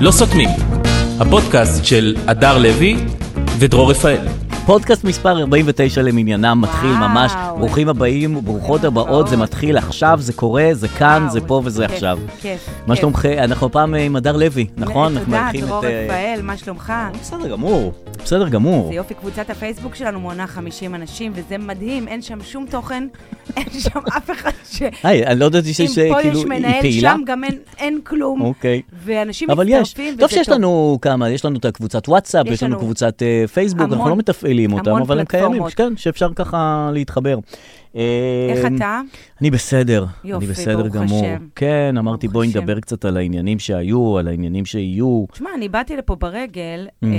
לא סותמים, הפודקאסט של הדר לוי ודרור רפאל. פודקאסט מספר 49 למניינם מתחיל וואו. ממש. ברוכים הבאים וברוכות הבאות, זה מתחיל עכשיו, זה קורה, זה כאן, זה פה וזה כיף, עכשיו. כיף. מה כיף. שלומך? אנחנו הפעם אה, עם הדר לוי, נכון? אנחנו תודה, מארחים דרור אה, רפאל, מה שלומך? בסדר גמור, בסדר גמור. זה יופי, קבוצת הפייסבוק שלנו מונה 50 אנשים, וזה מדהים, אין שם שום תוכן, אין שם אף אחד ש... היי, אני לא ידעתי אם שיש פה אה, יש כאילו, היא מנהל, פעילה. שם גם אין- אין כלום, אוקיי. ואנשים אבל יש, מצטרפים, וזה טוב שיש לנו כמה, יש לנו את הקבוצת וואטסאפ, יש יש לנו לנו קבוצת אה, פייסבוק, אנחנו המון- לא מתפעלים אותם, המון אבל הם קיימים, פלטפורמות. כן, שאפשר ככה להתחבר. איך אה, אתה? אני בסדר, יופי, אני בסדר ברוך גמור. השם. כן, אמרתי ברוך בואי השם. נדבר קצת על העניינים שהיו, על העניינים שיהיו. תשמע, אני באתי לפה ברגל מהמם.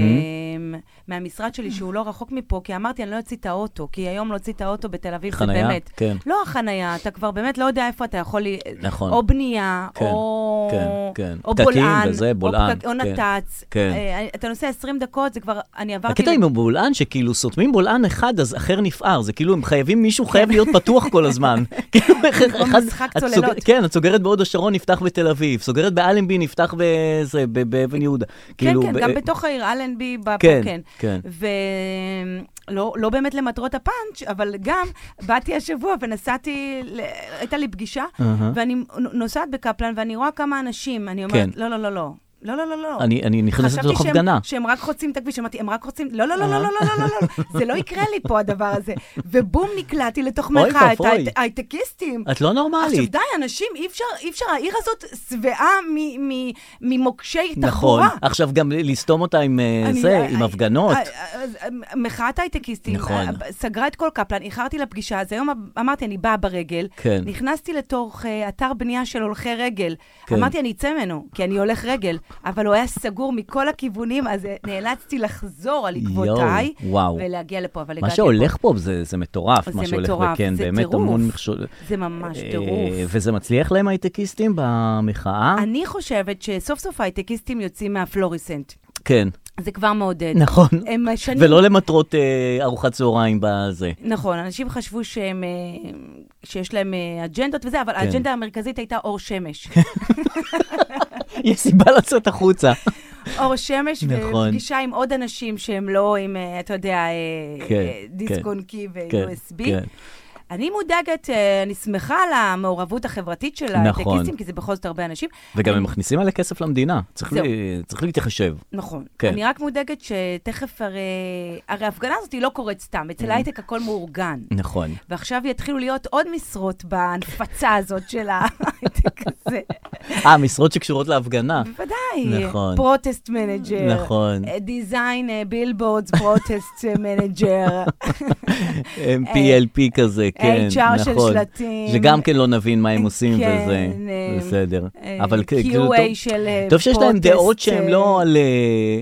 אמ, מהמשרד שלי, שהוא לא רחוק מפה, כי אמרתי, אני לא אוציא את האוטו, כי היום להוציא את האוטו בתל אביב זה חנייה? באמת... כן. לא החנייה, אתה כבר באמת לא יודע איפה אתה יכול... ל- נכון. או בנייה, כן, או... כן, כן. או פקקים בולען. וזה, או בולען, פקק- או כן, נת"צ. כן. אה, אתה נוסע 20 דקות, זה כבר... אני עברתי... הקטע עם הבולען, שכאילו סותמים בולען אחד, אז אחר נפער. זה כאילו, הם חייבים, מישהו חייב להיות פתוח כל הזמן. כאילו, כמו אחד... משחק את צוללות. סוגר- כן, את סוגרת בהוד השרון, נפתח בתל אביב. סוגרת באלנבי, נפתח בזה, ב- באבן יהודה. כן, כאילו, כן, ב- גם בתוך העיר אלנבי, ב- כן, כן. כן. ולא לא באמת למטרות הפאנץ', אבל גם באתי השבוע ונסעתי, ל- הייתה לי פגישה, אהה. ואני נוסעת בקפלן ואני רואה כמה אנשים, אני כן. אומרת, לא, לא, לא, לא. לא, לא, לא, לא. אני אני נכנסת חשבתי לתוך שהם- הפגנה. שהם רק חוצים את הכביש, אמרתי, הם רק רוצים, לא, לא, לא, לא, לא, לא, לא, לא, לא, זה לא יקרה לי פה הדבר הזה. ובום, נקלעתי לתוך אוי מחאת ואבוי. ההי- הייטקיסטים. את לא עכשיו נורמלית. די, אנשים, אי אפשר, אי אפשר, העיר הזאת שבעה מ- מ- ממוקשי נכון. תחבורה. עכשיו גם לסתום אותה עם אה, אני- זה, אה, עם אה, הפגנות. אה, אה, אה, מחאת הייטקיסטים נכון. אה, סגרה את כל קפלן, איחרתי לפגישה, אז היום אמ- אמרתי, אני באה ברגל. כן. נכנסתי לתוך אה, אתר בנייה של הולכי רגל. כן. אמרתי, אני אצא ממנו, כי אני הולך רגל. אבל הוא היה סגור מכל הכיוונים, אז אה, נאלצתי לחזור על עקבותיי, יואו, וואו. ולהגיע לפה, אבל הגעתי מה לפה. שהולך פה זה, זה מטורף, מה זה שהולך, מטורף, וכן, זה באמת טירוף. המון מכשול. זה ממש אה, טירוף. וזה מצליח להם הייטקיסטים במחאה? אני חושבת שסוף סוף הייטקיסטים יוצאים מהפלוריסנט. כן, זה כבר מעודד. נכון. הם משנים... ולא למטרות אה, ארוחת צהריים בזה. נכון, אנשים חשבו שהם, אה, שיש להם אה, אג'נדות וזה, כן. אבל האג'נדה המרכזית הייתה אור שמש. יש סיבה לצאת החוצה. אור שמש נכון. ופגישה עם עוד אנשים שהם לא עם, אה, אתה יודע, אה, כן, אה, כן, דיסק און קי כן, ו-USB. כן. אני מודאגת, אה, אני שמחה על המעורבות החברתית של נכון. הטקיסטים, כי זה בכל זאת הרבה אנשים. וגם אני- הם מכניסים מלא כסף למדינה, צריך זהו. לי- צריך להתחשב. נכון. כן. אני רק מודאגת שתכף הרי... הרי ההפגנה הזאת היא לא קורית סתם, אצל Mm. ההייטק הכל מאורגן. נכון. ועכשיו יתחילו להיות עוד משרות בהנפצה הזאת של ההייטק הזה. אה, משרות שקשורות להפגנה. בוודאי. נכון. פרוטסט מנג'ר. אה, נכון. דיזיין, בילבורדס, פרוטסט אה, מנג'ר. אה, PLP כזה, כן, נכון. HR אה, של שלטים. שגם כן לא נבין מה הם עושים כן, וזה, אה, בסדר. אה, אבל כ- כאילו... טוב- QA של אה, טוב שיש להם פרוטסט, דעות שהן אה, לא על... אה,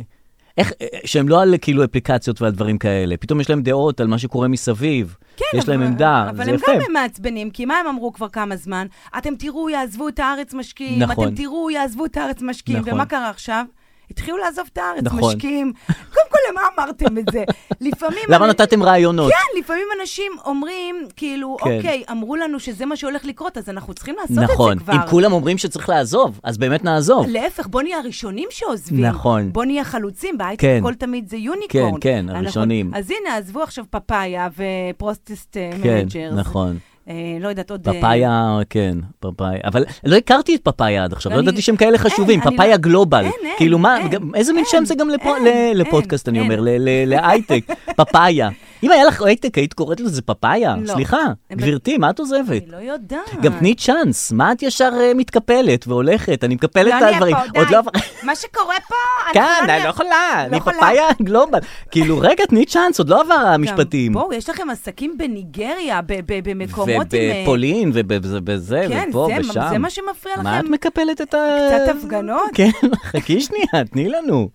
איך, אה, שהם לא על כאילו אפליקציות ועל דברים כאלה. פתאום יש להם דעות על מה שקורה מסביב. כן, יש להם אבל- עמדה, אבל זה הם יפה. גם הם מעצבנים, כי מה הם אמרו כבר כמה זמן? אתם תראו, יעזבו את הארץ משקיעים, נכון. אתם תראו, יעזבו את הארץ משקיעים, נכון. ומה קרה עכשיו? התחילו לעזוב את הארץ, נכון. משקיעים. קודם כל, למה אמרתם את זה? לפעמים... למה אני- נתתם רעיונות? כן, לפעמים אנשים אומרים, כאילו, כן. אוקיי, אמרו לנו שזה מה שהולך לקרות, אז אנחנו צריכים לעשות נכון. את זה כבר. אם כולם אומרים שצריך לעזוב, אז באמת נעזוב. להפך, בוא נהיה הראשונים שעוזבים. נכון. בוא נהיה חלוצים, בהייטק כן. הכל תמיד זה יוניקורן. כן, כן, אנחנו- הראשונים. אז הנה, עזבו עכשיו פפאיה ופרוסטסט אה, כן, מנג'רס. נכון. אה, לא יודעת, עוד... אה, פפאיה, כן, פפאיה. אבל לא הכרתי את פפאיה עד עכשיו, לא ואני- ידעתי שהם כאלה אין, חשובים. אני לא- פפאיה גלובל. אין, אין, כאילו מה, אין, גם- איזה מין אין, שם זה גם לפו- אין, ל- אין, לפודקאסט, אני אין. אומר, ל- ל- להייטק. פפאיה. אם היה לך הייטק, היית קוראת לזה פפאיה? לא. סליחה, הם- גברתי, מה את עוזבת? אני לא יודעת. גם תני צ'אנס, מה את ישר אה, מתקפלת והולכת? אני מקפלת לא את הדברים. נהיה פה, עוד די. לא... מה שקורה פה, אנחנו כן, נהיה- אני לא יכולה, אני יכולה. פפאיה גלובל. כאילו, רגע, תני צ'אנס, עוד לא עבר גם, המשפטים. בואו, יש לכם עסקים בניגריה, ב- ב- במקומות עם... אה, ובפולין, ובזה, כן, ופה זה- ושם. זה מה שמפריע מה את לכם? מקפלת את ה... קצת הפגנות? כן, חכי שנייה, תני לנו.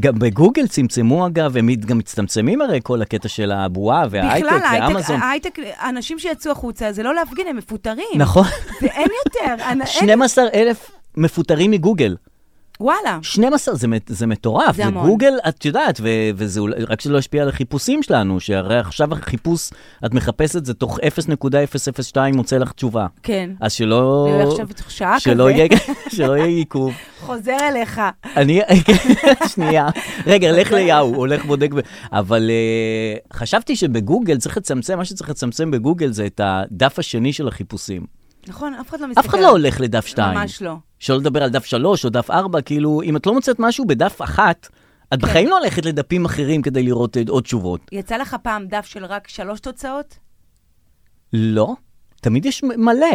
גם בגוגל צמצמו אגב, הם גם מצטמצמים הרי כל הקטע של הבועה וההייטק בכלל, ההייטק- ואמזון. ההייטק, האנשים שיצאו החוצה, זה לא להפגין, הם מפוטרים. נכון, זה אין יותר. אנ- אין 12 אלף מפוטרים מגוגל. וואלה. 12, זה, מט- זה מטורף. זה המון. גוגל, את יודעת, ו, וזה אולי, רק שזה לא ישפיע על החיפושים שלנו, שהרי עכשיו החיפוש, את מחפשת, זה תוך 0.002 מוצא לך תשובה. כן. אז שלא... אני עכשיו בתוך שעה שלא כזה. יהיה, שלא יהיה עיכוב. חוזר אליך. אני, שנייה, רגע, לך ליהו, הולך בודק, ב- אבל uh, חשבתי שבגוגל צריך לצמצם, מה שצריך לצמצם בגוגל זה את הדף השני של החיפושים. נכון, אף אחד לא מסתכל. אף אחד לא הולך לדף 2. ממש לא. שלא לדבר על דף 3 או דף 4, כאילו, אם את לא מוצאת משהו בדף אחת, את כן. בחיים לא הולכת לדפים אחרים כדי לראות אה, עוד תשובות. יצא לך פעם דף של רק שלוש תוצאות? לא, תמיד יש מ- מלא.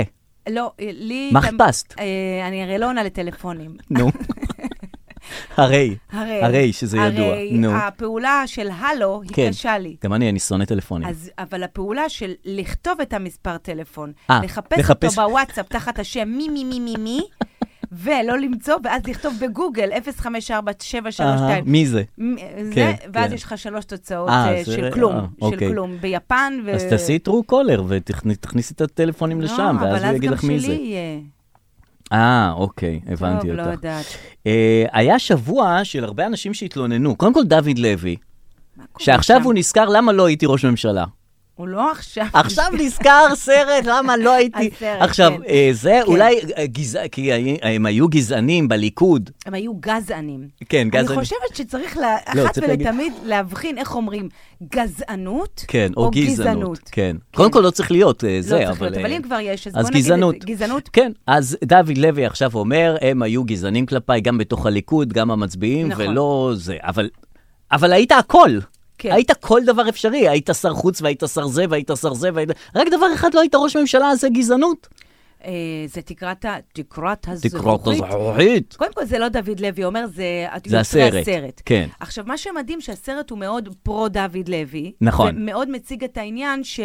לא, אה, לי... מה גם- חיפשת? אה, אני הרי לא עונה לטלפונים. נו. הרי, הרי, הרי שזה ידוע. נו. הרי הפעולה של הלו היא כן. קשה לי. גם אני, אני שונא טלפונים. אז, אבל הפעולה של לכתוב את המספר טלפון, אה, לחפש, לחפש- אותו בוואטסאפ תחת השם מי מי מי מי מי, ולא למצוא, ואז לכתוב בגוגל 054732. אהה, אה, מי זה? מ- זה, כן, ואז כן. יש לך שלוש תוצאות אה, אה, זה- של כלום, אה, של אוקיי. כלום, ביפן ו... אז תעשי טרו קולר ותכניסי את הטלפונים לא, לשם, ואז הוא יגיד לך מי אבל אז גם זה. שלי יהיה. אה, אוקיי, הבנתי טוב, אותך. לא יודעת. אה, היה שבוע של הרבה אנשים שהתלוננו. קודם כל, דוד לוי, מה קורה שעכשיו שם? הוא נזכר למה לא הייתי ראש ממשלה. הוא לא עכשיו. עכשיו נזכר סרט, למה לא הייתי... הסרט, עכשיו, כן. אה, זה אולי אה, גזע... כי היה- הם היו גזענים בליכוד. הם היו גזענים. כן, גזענים. לא, אני חושבת שצריך לה... אחת צריך להגיד- ולתמיד להבחין איך אומרים, גזענות כן, או גזענות. כן. כן. קודם כל, לא צריך להיות אה, זה, לא אבל... צריך להיות, אה, אבל אם כבר יש, אז בוא אז נגיד את זה. גזענות. גזענות? כן, אז דוד לוי עכשיו אומר, הם היו גזענים כלפיי, גם בתוך הליכוד, גם המצביעים, נכון. ולא זה. אבל, אבל היית הכל. כן. היית כל דבר אפשרי, היית שר חוץ והיית שר זה והיית שר זה והיית... רק דבר אחד לא היית ראש ממשלה, אז זה גזענות. אה, זה תקרת ה- תקרת תקרות הזכוכית. הזכוכית. קודם כל, זה לא דוד לוי אומר, זה... זה יוצרי הסרט, כן. עכשיו, מה שמדהים, שהסרט הוא מאוד פרו-דוד לוי. נכון. ומאוד מציג את העניין ש...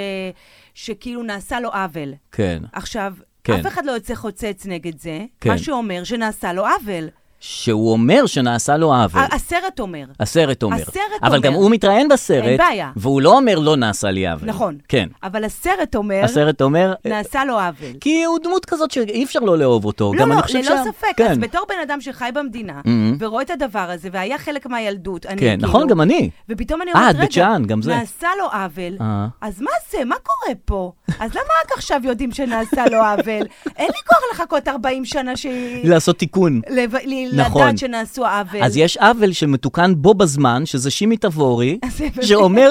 שכאילו נעשה לו עוול. כן. עכשיו, כן. אף אחד לא יוצא חוצץ נגד זה, כן. מה שאומר שנעשה לו עוול. שהוא אומר שנעשה לו עוול. ה- הסרט אומר. הסרט אומר. הסרט אומר. אבל גם הוא מתראיין בסרט. אין בעיה. והוא לא אומר לא נעשה לי עוול. נכון. כן. אבל הסרט אומר, הסרט אומר... "אה, נעשה לו עוול. כי הוא דמות כזאת שאי אפשר לא לאהוב אותו. לא, גם לא, אני חושב ללא שה- ספק. כן. Mm-hmm. אז בתור בן אדם שחי במדינה, ורואה את הדבר הזה, והיה חלק מהילדות, אני כן, כאילו... נכון, גם אני. ופתאום אני אה, אומרת, את רגע, בית שאן, גם זה." נעשה לו עוול, אה. אז מה זה? מה קורה פה? אז למה רק עכשיו יודעים שנעשה לו עוול? אין לי כוח לחכות 40 שנה ש... לעשות תיקון. לב- ל- לא. נכון. לדעת שנעשו עוול. אז יש עוול שמתוקן בו בזמן, שזה שימי תבורי, זה באמת- שאומר,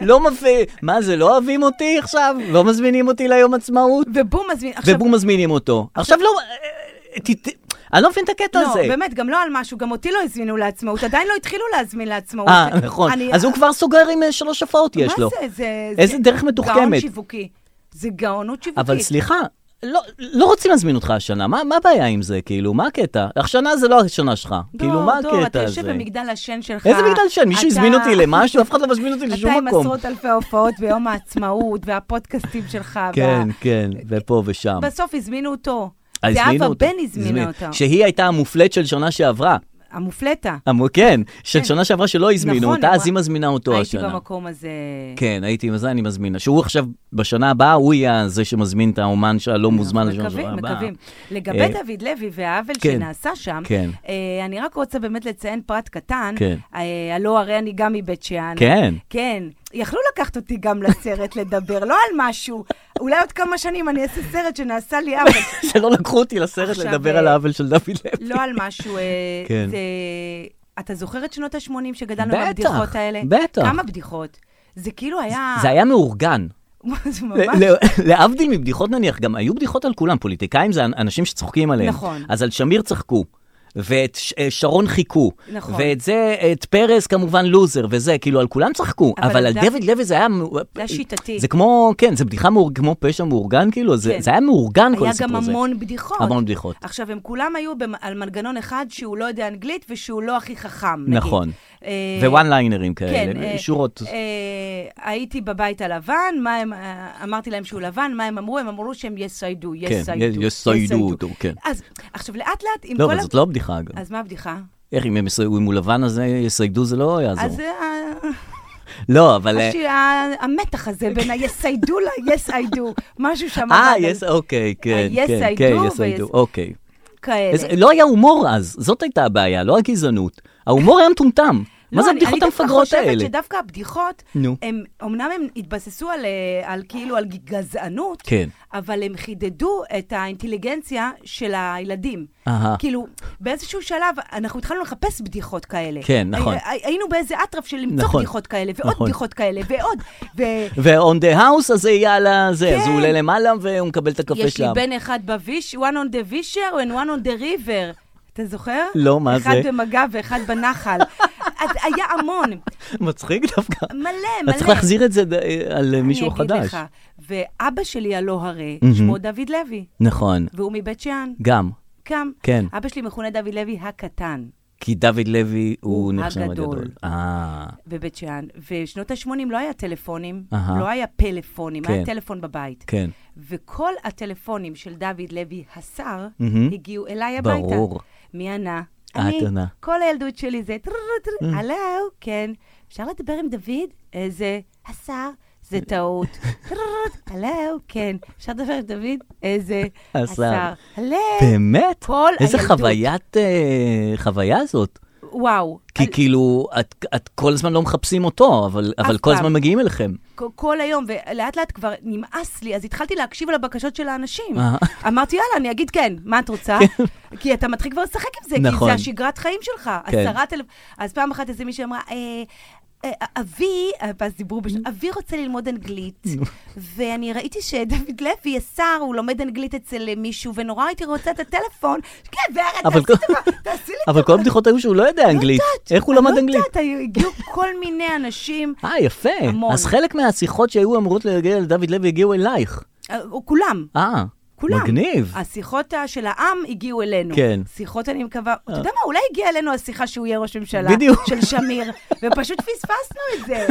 לא מפ... מה זה, לא אוהבים אותי עכשיו? לא מזמינים אותי ליום עצמאות? ובום מזמין... עכשיו- ובום מזמינים אותו. עכשיו לא... אה, תת- אני לא מבין את הקטע הזה. לא, באמת, גם לא על משהו, גם אותי לא הזמינו לעצמאות, עדיין לא התחילו להזמין לעצמאות. אה, נכון. אוקיי. אני- אז הוא כבר סוגר עם אה, שלוש הופעות יש לו. מה זה? זה... איזה זה דרך גאון מתוחכמת. שיווקי. זה גאונות שיווקית. אבל סליחה, לא, לא רוצים להזמין אותך השנה, מה, מה הבעיה עם זה? כאילו, מה הקטע? השנה זה לא השנה שלך. דור, כאילו, מה דור, אתה הקטע יושב הזה? במגדל השן שלך. איזה מגדל שן? מישהו אתה- הזמין אותי למשהו? אף אחד לא מזמין אותי אתה לשום עם מקום. עשרות אלפי הופעות ביום העצמאות, והפודקאסטים שלך. וה- כן, כן, ופה ושם. בסוף הזמינו אותו. אה, הזמינו זהבה אותו. בן הזמינה הזמין- אותו. שהיא הייתה המופלט של שנה שעברה. המופלטה. אמרו, כן, של שנה שעברה שלא הזמינו נכון, אותה, אמרה- אז היא מזמינה אותו הייתי השנה. במקום הזה. כן, הייתי עם זה, אני מזמינה. שהוא עכשיו, בשנה הבאה, הוא יהיה זה שמזמין את האומן שהלא מוזמן לשנה נכון, מקווים, שעברה. מקווים. אה, לגבי דוד לוי והעוול כן, שנעשה שם, כן. אה, אני רק רוצה באמת לציין פרט קטן. כן. אה, הלא, הרי אני גם מבית שאן. כן. כן. יכלו לקחת אותי גם לסרט לדבר, לא על משהו. אולי עוד כמה שנים אני אעשה סרט שנעשה לי עוול. שלא לקחו אותי לסרט עכשיו, לדבר אה, על העוול של דוד לוי. לא על משהו... אה, כן. זה... אתה זוכר את שנות ה-80 שגדלנו בטח, עם הבדיחות האלה? בטח. כמה בדיחות? זה כאילו היה... זה היה מאורגן. זה ממש... ל- ל- להבדיל מבדיחות נניח, גם היו בדיחות על כולם, פוליטיקאים זה אנ- אנשים שצוחקים עליהם. נכון. אז על שמיר צחקו. ואת ש- אה, שרון חיכו, נכון. ואת זה, את פרס כמובן לוזר, וזה, כאילו על כולם צחקו, אבל אבל, על על דוד- דוד לוי זה היה... מ- זה היה שיטתי. זה כמו, כן, זה בדיחה מאור, כמו פשע מאורגן, כאילו, כן. זה, כן. זה היה מאורגן כל היה הסיפור גם הזה. המון בדיחות. המון בדיחות. עכשיו, הם כולם היו במ- על מנגנון אחד שהוא לא יודע אנגלית ושהוא לא הכי חכם, נגיד. נכון. אה, ווואן ליינרים כאלה, כן, אה, שורות. אה, הייתי בבית הלבן, מה הם, אה, אמרתי להם שהוא לבן, מה הם אמרו? הם אמרו שהם יסיידו, יסיידו. כן, יסיידו אותו, כן. אז עכשיו, לאט לאט, עם לא, כל... אבל ה- זאת לא הבדיחה, אגב. אז מה הבדיחה? איך אם הם יסייגו, אם הוא לבן אז אה, יסייגו, זה לא יעזור. אז אה, לא, אבל... אה, הש- ה- המתח הזה בין ה-yes I do ל-yes I do, משהו שם. אה, עבד על- yes, אוקיי, כן, ה- אה, yes כן, I כן, do אה, yes I ו- do, אוקיי. כאלה. איזה- לא היה הומור אז, זאת הייתה הבעיה, לא הגזענות. ההומור היה מטומטם. מה זה לא, אני- הבדיחות המפגרות אני דווקא האלה? חושבת שדווקא הבדיחות, נו. הם, אמנם הם התבססו על, אה, על כאילו, על גזענות, כן. אבל הם חידדו את האינטליגנציה של הילדים. אהה. כאילו, באיזשהו שלב, אנחנו התחלנו לחפש בדיחות כאלה. כן, נכון. הי- הי- היינו באיזה אטרף של למצוא נכון, בדיחות כאלה, ועוד נכון. בדיחות כאלה, ועוד. ו... ו-on the house, אז זה יהיה על הזה, אז כן. הוא עולה למעלה והוא מקבל את הקפה יש לי שם. בן אחד בוויש, one on the visher and one on the river. אתה זוכר? לא, מה אחד זה? במגע ואחד בנחל. אז היה המון, מצחיק דווקא. מלא, מלא. אתה צריך להחזיר את זה ד- אה, על מישהו אני אגיד חדש. לך, ואבא שלי הלא הרי, מהמם. שמו דוד לוי, נכון, והוא מבית שאן, גם. גם. כן. אבא שלי מכונה דוד לוי הקטן כי דוד לוי הוא הוא נחשב הגדול. הגדול. אה, בבית שאן, ובשנות ה-80 לא היה טלפונים, אהה. לא היה פלאפונים, כן. היה טלפון בבית. כן. וכל הטלפונים של דוד לוי, השר, מהמם. הגיעו אליי הביתה. ברור. מי ענה? את אני. עונה. אה. כל הילדות שלי זה, הלו, כן. אפשר לדבר עם דוד? אה, זה, השר, זה טעות. "טררררט, הלו, כן. אפשר לדבר עם דוד? אה, זה, השר. השר. הלו. באמת? אה, כל איזה הילדות. חוויית, אה, חוויה זאת. וואו. כי כאילו, את- את כל הזמן לא מחפשים אותו, אבל אבל כל פעם. הזמן מגיעים אליכם. כ- כל היום, ולאט לאט כבר נמאס לי, אז התחלתי להקשיב לבקשות של האנשים. אה. כן. אמרתי, יאללה, אני אגיד כן, מה את רוצה? כי אתה מתחיל כבר לשחק עם זה, כי נכון. זה השגרת חיים שלך. כן. עשרה טלפ... אז פעם אחת איזה מישהי אמרה, אה, אה, אבי, ואז דיברו בשם, אבי רוצה ללמוד אנגלית, ואני ראיתי שדוד לוי, השר, הוא לומד אנגלית אצל מישהו, ונורא הייתי רוצה את הטלפון. כן, ורד, אבל תעשי כל- טובה, תעשי לי אבל כל הבדיחות היו שהוא לא יודע אנגלית. איך הוא למד אני אנגלית? לא יודעת, הגיעו כל מיני אנשים, אה, יפה. המון. אז חלק מהשיחות שהיו אמורות להגיע לדוד לוי הגיעו אלייך. אה, כולם. אה, כולם. אה. מגניב. השיחות ה- של העם הגיעו אלינו. כן. שיחות, אני מקווה, אתה יודע מה, אולי הגיעה אלינו השיחה שהוא יהיה ראש ממשלה. בדיוק. של שמיר, ופשוט פספסנו את זה.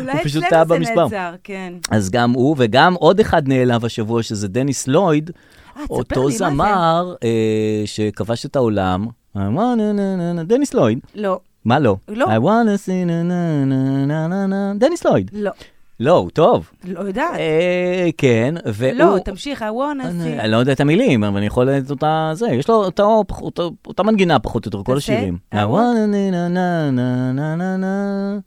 אולי הוא פשוט טעה אצלנו זה במספר. נעצר, כן. אז גם הוא וגם עוד אחד נעלב השבוע, שזה דניס לויד, אה, תספר לי, אותו מה זה? זמר אה, שכבש את העולם. I wanna na na na, דניס לויד. לא, מה לא? לא. I wanna see na na na na na na. דניס לויד. לא, לא, הוא טוב. לא יודעת. אה, כן, והוא... לא, תמשיך, I want אני to אני לא יודע את המילים, אבל אני יכול לדעת אותה זה. יש לו אותו, אותו, אותה מנגינה פחות או יותר, כל תעשה. השירים. I אה, וואו. wanna na na na na na na na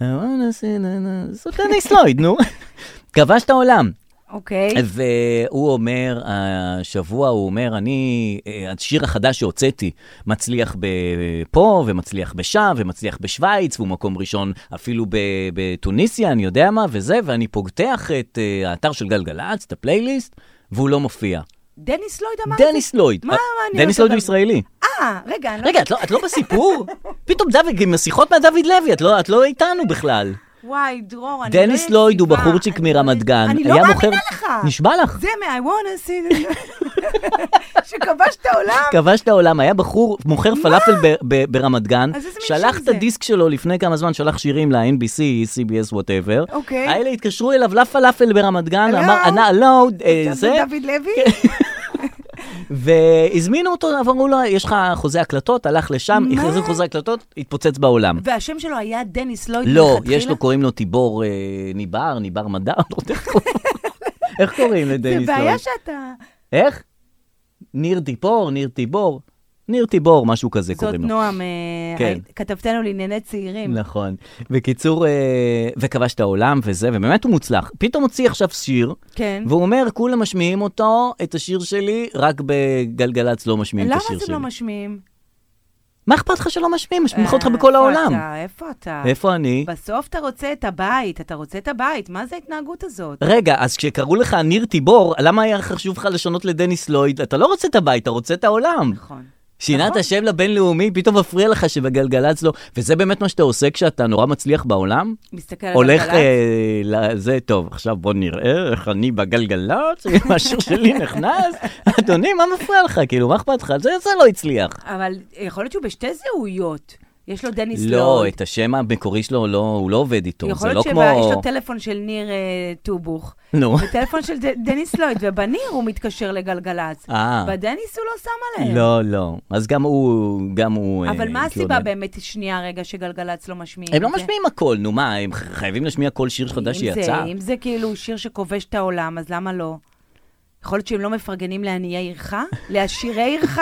I wanna see na na זאת דניס לויד, נו. כבש את העולם. see. אוקיי. והוא אומר, השבוע הוא אומר, אני, אה, השיר החדש שהוצאתי מצליח ב- פה, ומצליח בשם, ומצליח בשוויץ, והוא מקום ראשון אפילו ב- בתוניסיה, אני יודע מה, וזה, ואני פוגתח את אה, האתר של גלגלצ, את הפלייליסט, והוא לא מופיע. דניס לויד אמר את זה? דניס לויד. מה, מה, אני לא דניס לויד הוא יודעת. ישראלי. אה, רגע, אני לא... רגע, את לא- את לא בסיפור? פתאום דוד, עם השיחות מהדוד לוי, את לא- את לא איתנו בכלל. וואי, דרור, אני לא דניס לויד הוא יציבה. בחורצ'יק אני לא מרמת יציבה. גן. אני לא היה מאמינה מוכר- לך. נשבע לך. זה מה-I want to see. שכבש את העולם. כבש את העולם, היה בחור מוכר פלאפל ב- ב- ברמת גן, אז איזה מין שלח שם את זה? הדיסק שלו לפני כמה זמן, שלח שירים ל-NBC, CBS, וואטאבר. אוקיי. האלה התקשרו אליו לפלאפל ברמת גן, הלו? אמר, ענה, לא, אה, אתה זה, כן. דוד לוי? והזמינו אותו, אמרו לו, יש לך חוזה הקלטות, הלך לשם, מה? הכריזו חוזה הקלטות, התפוצץ בעולם. והשם שלו היה דניס לויד לא, מלכתחילה? יש לו, קוראים לו טיבור אה, ניבר, ניבר מדע, לא יודע איך קוראים לו. איך קוראים זה לדניס לויד? בעיה שאתה... איך? ניר טיפור, ניר טיבור, ניר טיבור, משהו כזה זאת קוראים לו. נועם, אה, כן. היית- כתבתנו לענייני צעירים. נכון. בקיצור, אה, וכבש את העולם וזה, ובאמת הוא מוצלח. פתאום הוציא עכשיו שיר, כן. והוא אומר, כולם משמיעים אותו, את השיר שלי, רק בגלגלצ לא משמיעים את למה השיר שלי. אתם לא משמיעים? מה אכפת לך שלא משמיעים? משמיעים לך אה, אותך בכל איפה העולם. אתה? איפה אתה? איפה אני? בסוף אתה רוצה את הבית, אתה רוצה את הבית. מה זה ההתנהגות הזאת? רגע, אז כשקראו לך ניר טיבור, למה היה חשוב לך לשנות לדניס לויד? אתה לא רוצה את הבית, אתה רוצה את העולם. נכון. שינה את נכון. השם לבינלאומי, פתאום מפריע לך שבגלגלצ לא... וזה באמת מה שאתה עושה כשאתה נורא מצליח בעולם? מסתכל על הולך הגל"צ. אה, לזה, טוב, עכשיו בוא נראה איך אני בגלגלצ, אם השיר שלי נכנס. אדוני, מה מפריע לך? כאילו, מה אכפת לך? זה זה לא הצליח. אבל יכול להיות שהוא בשתי זהויות. יש לו דניס לויד. לא, את השם המקורי שלו, לא- הוא לא עובד איתו. יכול זה לא להיות כמו... שיש לו טלפון של ניר אה, טובוך. נו. וטלפון של ד- דניס לויד, ובניר הוא מתקשר לגלגלצ. אה. בדניס הוא לא שם עליהם. לא, לא. אז גם הוא... גם הוא... אה, אבל מה הסיבה התלונן. באמת, שנייה רגע, שגלגלצ לא משמיעים? הם לא את זה? משמיעים הכל, נו מה, הם חייבים להשמיע כל שיר חדש אם זה- שיצא. אם זה כאילו שיר שכובש את העולם, אז למה לא? יכול להיות שהם לא מפרגנים לעניי עירך? לעשירי עירך?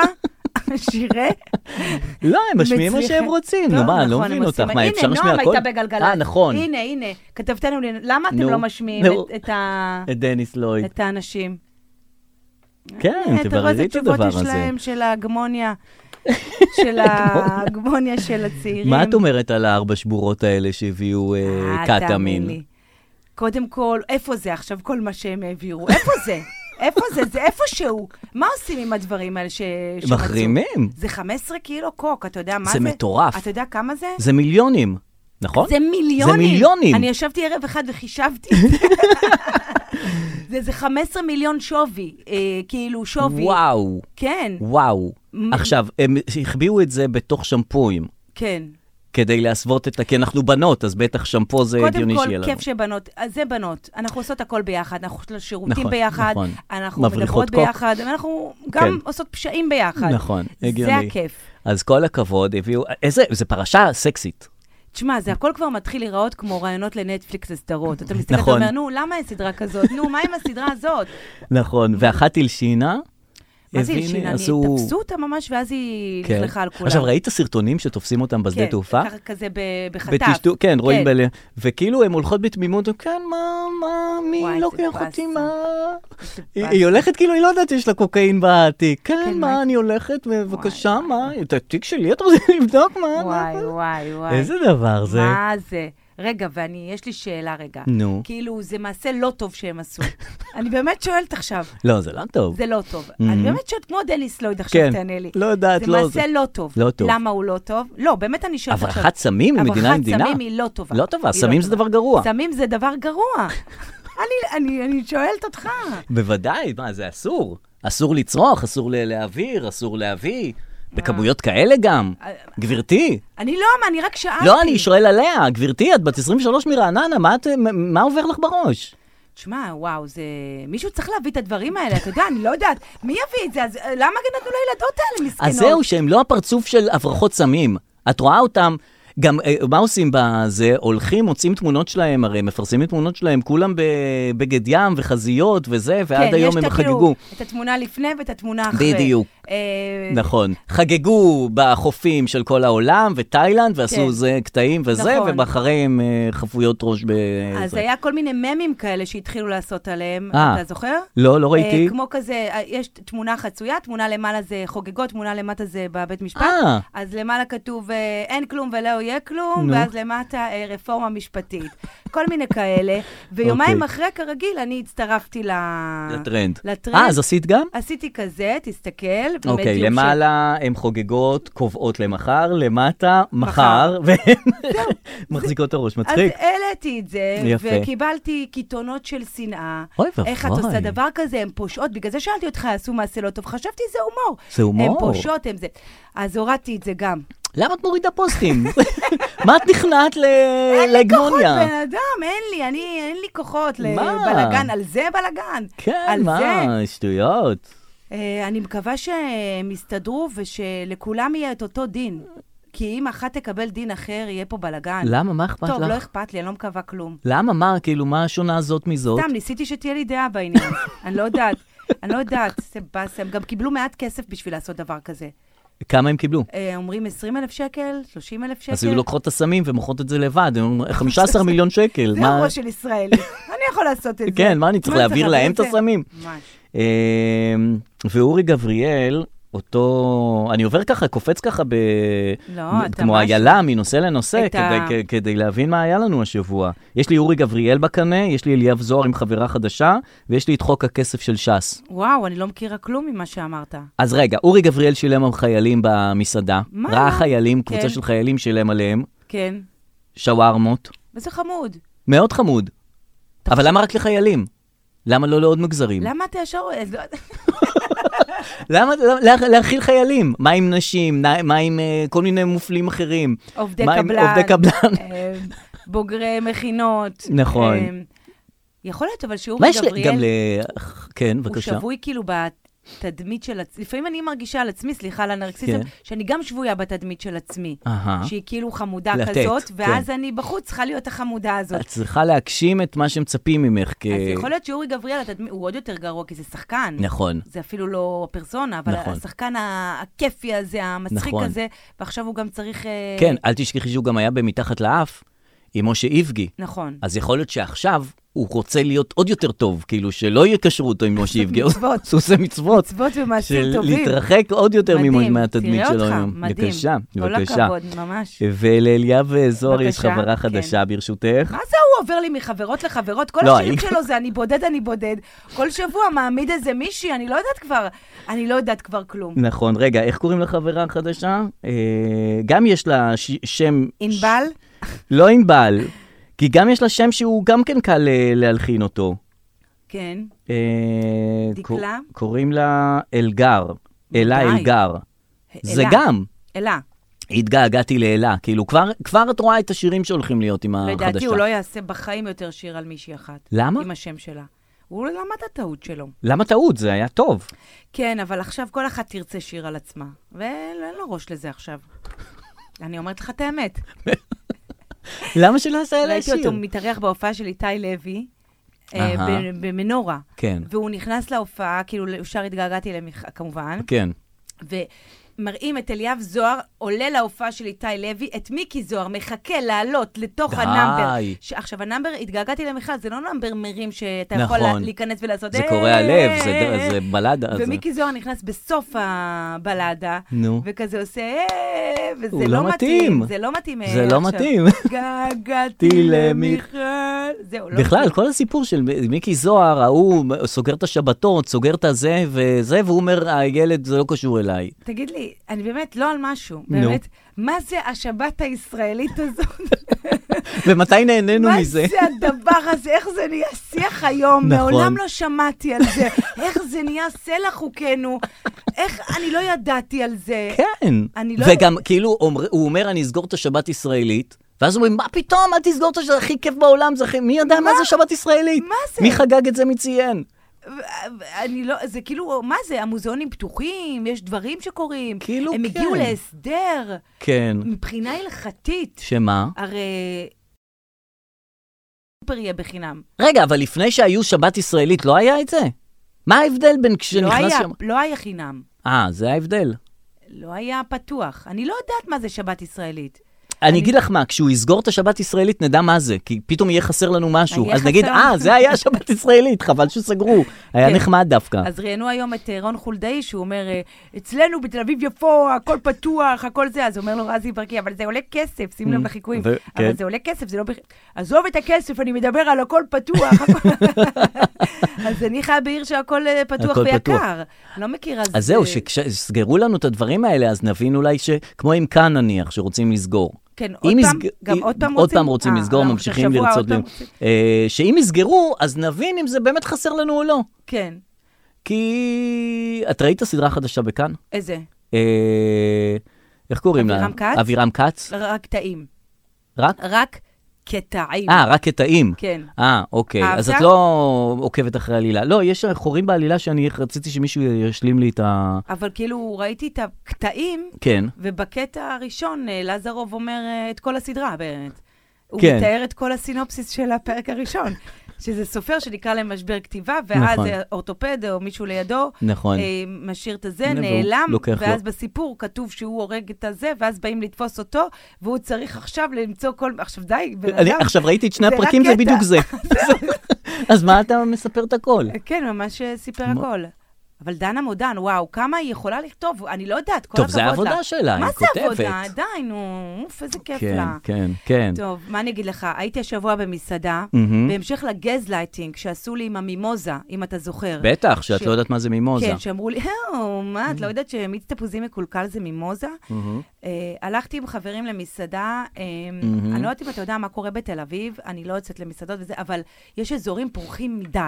עשירי? לא, הם משמיעים מה שהם מצליחים. רוצים. טוב, נו, מה, אני לא נכון, הם מבין אותך. עושים- מה, אפשר לשמיע הנה, הכל? נועם הייתה בגלגלצ. אה, נכון. הנה, הנה, כתבתנו, לינ- למה אתם נו, לא משמיעים נו. את- את ה- את דניס לויד. את האנשים? כן, תבררי אה, את אתה רואה הדבר איזה תשובות יש הזה. להם של ההגמוניה, של ההגמוניה של הצעירים. מה את אומרת על הארבע שבורות האלה שהביאו אה, אה, תאמין לי. קטאמין? קודם כל, איפה זה עכשיו כל מה שהם העבירו? איפה זה? איפה זה? זה איפשהו. מה עושים עם הדברים האלה ש... שמצאו? מחרימים. זה 15 קילו קוק, אתה יודע מה זה זה? מטורף. אתה יודע כמה זה? זה מיליונים, נכון? זה מיליונים. זה מיליונים. אני ישבתי ערב אחד וחישבתי את זה. זה. זה 15 מיליון שווי, אה, כאילו שווי. וואו, כן, וואו. מ- עכשיו, הם החביאו את זה בתוך שמפויים, כן. כדי להסוות את ה... כי אנחנו בנות, אז בטח שמפו זה קודם הגיוני כל, שיהיה לנו. כיף שבנות, אז זה בנות. אנחנו עושות הכל ביחד, אנחנו עושות שירותים נכון, ביחד, נכון. אנחנו מבריחות מדברות קוק. ביחד, אנחנו גם כן. עושות פשעים ביחד. נכון, הגיוני. זה הכיף. אז כל הכבוד, הביאו... איזה, זה פרשה סקסית. תשמע, זה הכל כבר מתחיל להיראות כמו רעיונות לנטפליקס לסדרות. אתה מסתכל נכון. ואומר, נו, למה אין סדרה כזאת? נו, מה עם הסדרה הזאת? נכון, ואחת הלשינה. מה זה הבין- הלשינה? אני- עשו- תפסו אותה ממש, ואז היא כן. נכלכה על כולם. עכשיו, ראית סרטונים שתופסים אותם בשדה כן, תעופה? ככה כזה ב- בחטף. בטשטו, כן, רואים ב... וכאילו הן הולכות בתמימות, כן, מה, מה, וואי, מי זה לוקח אותי, באסה. מה? איזה היא- באסה. היא הולכת כאילו, היא לא יודעת שיש לה קוקאין בתיק. כן, כן, מה, מה- אני הולכת, בבקשה, מה, את התיק שלי את רוצה לבדוק, מה? וואי, מה- וואי, וואי. איזה דבר זה. מה זה? רגע, ואני, יש לי שאלה רגע. נו. כאילו, זה מעשה לא טוב שהם עשו. אני באמת שואלת עכשיו, לא, זה לא טוב. זה לא טוב. אני באמת שואלת, כמו דניס לויד עכשיו, Mm-hmm. כן. תענה לי. לא יודעת, זה לא מעשה זה. לא טוב. לא טוב. למה הוא לא טוב? לא, באמת אני שואלת עכשיו. הברחת סמים ממדינה למדינה? הברחת סמים היא לא טובה. לא טובה, היא סמים זה טובה. דבר גרוע. סמים זה דבר גרוע. אני- אני אני שואלת אותך. בוודאי, מה, זה אסור. אסור לצרוך, אסור ל- להעביר, אסור להביא. בכמויות כאלה גם. אה, גברתי, אני לא, אני רק שאלתי. לא, אני שואל עליה, גברתי, את בת 23 מרעננה, מה את- מה- מה עובר לך בראש? תשמע, וואו, זה... מישהו צריך להביא את הדברים האלה, אתה יודע, אני לא יודעת. מי יביא את זה? אז אה, למה נתנו לילדות האלה מסכנות? אז זהו, שהם לא הפרצוף של הברחות סמים. את רואה אותם, גם אה, מה עושים בזה? הולכים, מוצאים תמונות שלהם, הרי מפרסמים תמונות שלהם, כולם בבגד ים וחזיות וזה, ועד כן, היום יש הם את ה- כאילו, חגגו. את התמונה לפני ואת התמונה אחרי. בדיוק. אה, נכון. חגגו בחופים של כל העולם, ותאילנד, ועשו כן. זה קטעים וזה, נכון. ובאחריהם אה, חפויות ראש ב... אז זה. היה כל מיני ממים כאלה שהתחילו לעשות עליהם, נכון. אה. אתה זוכר? לא, לא ראיתי. אה, כמו כזה, אה, יש תמונה חצויה, תמונה למעלה זה חוגגות, תמונה למטה זה בבית משפט. אה. אז למעלה כתוב אה, אין כלום ולא יהיה כלום, נו. ואז למטה אה, רפורמה משפטית. כל מיני כאלה, ויומיים אוקיי. אחרי, כרגיל, אני הצטרפתי ל... לטרנד. לטרנד. אה, אז עשית גם? עשיתי כזה, תסתכל. באמת אוקיי, יום למעלה הן חוגגות, קובעות למחר, למטה, מחר, מחר. והן מחזיקות את הראש, אז אה, מצחיק. העליתי את זה, יפה. וקיבלתי קיתונות של שנאה. אוי ואבוי. איך את עושה דבר כזה, הן פושעות, בגלל זה שאלתי אותך, עשו מעשה לא טוב, חשבתי זה הומור. זה הומור. הן פושעות, הן זה. אז הורדתי את זה גם. למה את אה, מורידה פוסטים? מה את נכנעת ל- כוחות להגמוניה? בן אדם, אין לי, אני, אין לי כוחות מה? לבלגן, על זה בלגן. כן, על זה. מה, שטויות. אה, אני מקווה שהם יסתדרו ושלכולם יהיה את אותו דין. כי אם אחת תקבל דין אחר, יהיה פה בלגן. למה, מה אכפת טוב, לא לך? אכפת לי, אני לא מקווה כלום. למה, מה, כאילו, מה השונה הזאת מזאת? סתם, ניסיתי שתהיה לי דעה בעניין. אני לא יודעת, אני לא יודעת, זה באסה. הם גם קיבלו מעט כסף בשביל לעשות דבר כזה. כמה הם קיבלו? אה, אומרים 20 אלף שקל, 30 אלף שקל. אז היו לוקחות את הסמים ומוכרות את זה לבד, הם אומרים, 15 מיליון שקל, כן. זה מה... הראש של ישראלי, אני יכול לעשות את זה. כן, מה, אני צריך להעביר להם את זה? הסמים? ממש. אמ, ואורי גבריאל, אותו... אני עובר ככה, קופץ ככה ב... לא, מ- אתה כמו משהו. איילה, מנושא לנושא, את כדי, ה- כ- כדי להבין מה היה לנו השבוע. יש לי אורי גבריאל בקנה, יש לי אליאב זוהר עם חברה חדשה, ויש לי את חוק הכסף של ש"ס. וואו, אני לא מכירה כלום ממה שאמרת. אז רגע, אורי גבריאל שילם על חיילים במסעדה. מה? ראה חיילים, כן. קבוצה של חיילים שילם עליהם, כן, שווארמות. וזה חמוד. מאוד חמוד. אבל למה רק לחיילים? למה לא לעוד מגזרים? למה אתה ישר... אז לא- למה למה- לה- להאכיל חיילים? מה עם נשים? נ- מה עם אה, כל מיני מופלים אחרים? עובדי מה עם קבלן. עובדי קבלן. אה, בוגרי מכינות. נכון. אה, יכול להיות, אבל שאורי מה יש ל- גבריאל... גם ל... כן, הוא בבקשה. שבוי כאילו ב- התדמית של עצמי. לפעמים אני מרגישה על עצמי, סליחה על הנרקסיזם, כן. שאני גם שבויה בתדמית של עצמי. אהה. שהיא כאילו חמודה לתת, כזאת, ואז כן. אני בחוץ צריכה להיות החמודה הזאת. את צריכה להגשים את מה שמצפים ממך. כ... אז יכול להיות שאורי גבריאל, התדמי- הוא עוד יותר גרוע, כי זה שחקן. אה, נכון. זה אפילו לא הפרסונה, אבל נכון. השחקן ה- הכיפי הזה, המצחיק נכון. הזה, ועכשיו הוא גם צריך... אה, כן, אל תשכחי שהוא גם היה במתחת לאף עם משה איבגי. נכון. אז יכול להיות שעכשיו הוא רוצה להיות עוד יותר טוב, כאילו שלא יקשרו אותו עם משה איבגי. מצוות. הוא עושה מצוות. מצוות ומעשים של טובים. להתרחק עוד יותר מדהים, ממו- מהתדמית תראה שלו אותך, היום. מדהים. בבקשה, כל בבקשה. הכבוד, ממש. ולאליאב זוהר יש בבקשה, חברה כן. חדשה ברשותך. מה זה הוא עובר לי מחברות לחברות? כל לא, השירים האם- שלו זה אני בודד, אני בודד. כל שבוע מעמיד איזה מישהי, אני לא יודעת כבר, אני לא יודעת כבר כלום. נכון, רגע, איך קוראים לחברה החדשה? אה, גם יש לה ש- שם... ענבל? לא ענבל, כי גם יש לה שם שהוא גם כן קל אה, להלחין אותו. כן. אה, דקלה? קו- קוראים לה אלגר, אלה די. אלגר. זה אלה. גם. אלה. התגעגעתי לאלה, כאילו כבר, כבר את רואה את השירים שהולכים להיות עם החדשה. לדעתי הוא לא יעשה בחיים יותר שיר על מישהי אחת. אה, למה? עם השם שלה. הוא לא למד את הטעות שלו. למה טעות? זה היה טוב. כן, אבל עכשיו כל אחת תרצה שיר על עצמה. ואין לו ראש לזה עכשיו. אני אומרת לך את האמת. למה שלא עשה אלה ראיתי שיר? אותו מתארח בהופעה של איתי לוי, אה, אהה. ב- במנורה. כן. והוא נכנס להופעה, כאילו, ישר התגעגעתי אליהם כמובן, כן. ומראים את אליאב זוהר עולה להופעה של איתי לוי, את מיקי זוהר מחכה לעלות לתוך די. הנאמבר. ש... עכשיו, הנאמבר, התגעגעתי למיכל, זה לא נאמבר מרים שאתה יכול נכון. לה- להיכנס ולעשות... זה "אה, קורע אה, לב, זה- אה, זה אה." בלדה, זה- ומיקי זוהר נכנס בסוף הבלדה, נו. וכזה עושה... "אה", וזה הוא לא לא מתאים. מתאים. זה לא מתאים. אה, זה לא עכשיו. מתאים. אה, התגעגעתי למיכל. זהו, לא בכלל, כל הסיפור של מיקי זוהר, ההוא סוגר את השבתות, סוגר את הזה וזה, והוא אומר, הילד, זה לא קשור אליי. תגיד לי, אני באמת לא על משהו, באמת, מה זה השבת הישראלית הזאת? ומתי נהנינו מה מזה? זה הדבר הזה? איך זה נהיה שיח היום? נכון. מעולם לא שמעתי על זה. איך זה נהיה סלע חוקנו? איך, אני לא ידעתי על זה. כן. אני לא- וגם, כאילו, אומר, הוא אומר, אני אסגור את השבת ישראלית, ואז אומרים, מה פתאום, אל תסגור את השבת, הכי כיף בעולם, זה הכי... מי ידע מה? זה שבת ישראלית? מה זה? מי חגג את זה? מי ציין? ו- אני לא, זה כאילו, מה זה, המוזיאונים פתוחים, יש דברים שקורים. כאילו, הם הגיעו כן. להסדר כן. מבחינה הלכתית. שמה? הרי... סופר יהיה בחינם. רגע, אבל לפני שהיו שבת ישראלית, לא היה את זה? מה ההבדל בין לא כשנכנס היה, שם... לא היה חינם. אה, זה ההבדל. לא היה פתוח. אני לא יודעת מה זה שבת ישראלית. אני אגיד לך מה, כשהוא יסגור את השבת ישראלית, נדע מה זה, כי פתאום יהיה חסר לנו משהו. יהיה אז נגיד, חסר אה, לנו." זה היה שבת ישראלית, חבל שסגרו. היה כן. נחמד דווקא. אז ראיינו היום את אה, רון חולדאי, שהוא אומר, אה, אצלנו בתל אביב יפו, הכל פתוח, הכל זה. אז אומר לו רזי ברקי, אבל זה עולה כסף, שים לב Mm, לחיקויים. ו- אבל כן. זה עולה כסף, זה לא... בח- עזוב את הכסף, אני מדבר על הכל פתוח. הכל-" אז אני חיה בעיר שהכל אה, פתוח הכל פתוח. ויקר. לא מכירה. אז זהו, שכשיסגרו לנו את הדברים האלה, אז נבין אולי ש... כמו עם כאן נניח, שרוצים לסגור. כן, אם עוד פעם? יסג- גם אם- עוד פעם עוד רוצים? פעם רוצים אה, לסגור, אנחנו ממשיכים שבוע עוד לרצות. פעם ל- רוצים. אה, שאם יסגרו, אז נבין אם זה באמת חסר לנו או לא. כן. כי... את ראית סדרה חדשה בכאן? איזה? אה, איך קוראים לה? אבירם כץ? לא. אבירם כץ? רק טעים. רק? רק קטעים. אה, רק קטעים. כן. אה, אוקיי. אהבת? אז את לא עוקבת אחרי עלילה. לא, יש חורים בעלילה שאני רציתי שמישהו ישלים לי את ה... אבל כאילו, ראיתי את הקטעים, כן. ובקטע הראשון, אה, לזרוב אומר אה, את כל הסדרה באמת. הוא כן. מתאר את כל הסינופסיס של הפרק הראשון, שזה סופר שנקרא להם משבר כתיבה, ואז נכון. אה, אורתופד או מישהו לידו, נכון. אה, משאיר את הזה, והוא נעלם, לוקח לו. ואז בסיפור כתוב שהוא הורג את הזה, ואז באים לתפוס אותו, והוא צריך עכשיו למצוא כל... עכשיו די, בן אני אדם. עכשיו ראיתי את שני זה רק הפרקים, זה קטע. בדיוק זה. אז מה אתה מספר את הכל? כן, ממש אה, סיפר מה- הכל. אבל דנה מודן, וואו, כמה היא יכולה לכתוב, אני לא יודעת, כל טוב, הכבוד זה לה. העבודה שלה, מה היא זה כותבת. עבודה? די, נו, אוף, איזה כיף כן, לה. כן, כן. טוב, מה אני אגיד לך? הייתי השבוע במסעדה, מהמם. בהמשך לגזלייטינג שעשו לי עם המימוזה, אם אתה זוכר. בטח, שאת ש- לא יודעת מה זה מימוזה. כן, שאמרו לי, "אה, מה, את לא יודעת שמיץ תפוזים מקולקל זה מימוזה? אה, הלכתי עם חברים למסעדה, אה, מהמם. אני לא יודעת אם אתה יודע מה קורה בתל אביב, אני לא יוצאת למסעדות וזה, אבל יש אזורים פורחים מדי.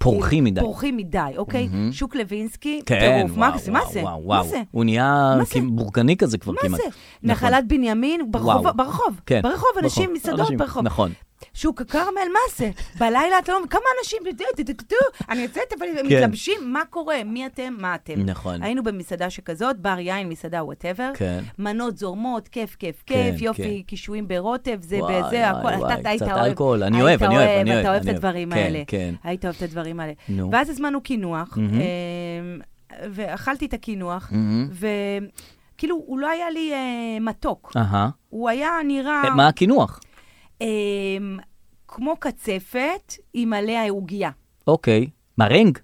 כאילו, פורחים מדי. פורחים מדי, אוקיי? שוק לוינסקי, כן, טירוף, מה וואו, זה? מה וואו, זה? וואו, מה וואו. זה? הוא נהיה מה זה? כמעט בורגני כזה כבר מה כמעט. זה? נכון. נחלת בנימין, ברחוב, וואו. ברחוב, כן. ברחוב, אנשים, ברחוב, מסעדות אנשים, ברחוב. נכון. שוק הכרמל, מה זה? בלילה אתה לא... כמה אנשים... דו, דו, דו, דו, אני יוצאת, אבל הם מתלבשים, מה קורה? מי אתם? מה אתם? כן. נכון. היינו במסעדה שכזאת, בר יין, מסעדה, וואטאבר. כן. מנות זורמות, כיף, כיף, כן, כיף, יופי, כן. קישואים ברוטב, זה וואי, בזה, וואי, הכל. וואי, אתה אתה היית קצת אוהב. אלכוהול, אני היית אוהב, אני אוהב, אני אוהב, אתה אוהב את אני אוהב. הדברים כן, האלה. כן. היית אוהב את הדברים האלה. נו. ואז הזמנו קינוח, מהמם. אה, ואכלתי את הקינוח, מהמם. וכאילו, הוא לא היה לי אה, מתוק. אהה. הוא היה נראה... אה, מה הקינוח? אמ, כמו קצפת עם עליה עוגיה. אוקיי. מרנג?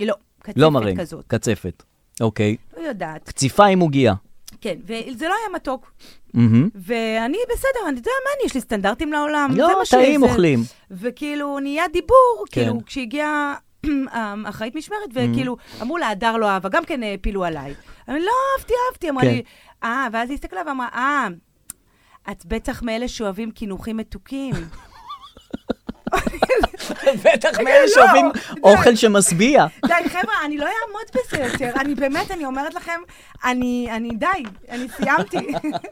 לא, קצפת לא מרנג. כזאת. קצפת. אוקיי. לא יודעת. קציפה עם עוגייה. כן, וזה לא היה מתוק. מהמם. ואני בסדר, אני יודע מה, אני, יש לי סטנדרטים לעולם. לא, זה מה טעים שזה. אוכלים. וכאילו, נהיה דיבור, כן. Mm. כאילו, כשהגיעה האחראית משמרת, וכאילו, אמרו לה, הדר לא אהבה, גם כן הפילו עליי. אני לא אהבתי, אהבתי, אמרה כן. לי, אה, ואז היא הסתכלה ואמרה, אה, את בטח מאלה שאוהבים קינוחים מתוקים. בטח מאלה מאלה שאוהבים שאוהבים לא. אוכל משביע. די, חבר'ה, אני לא אעמוד בזה יותר. אני באמת, אני אומרת לכם, אני, אני די, אני סיימתי.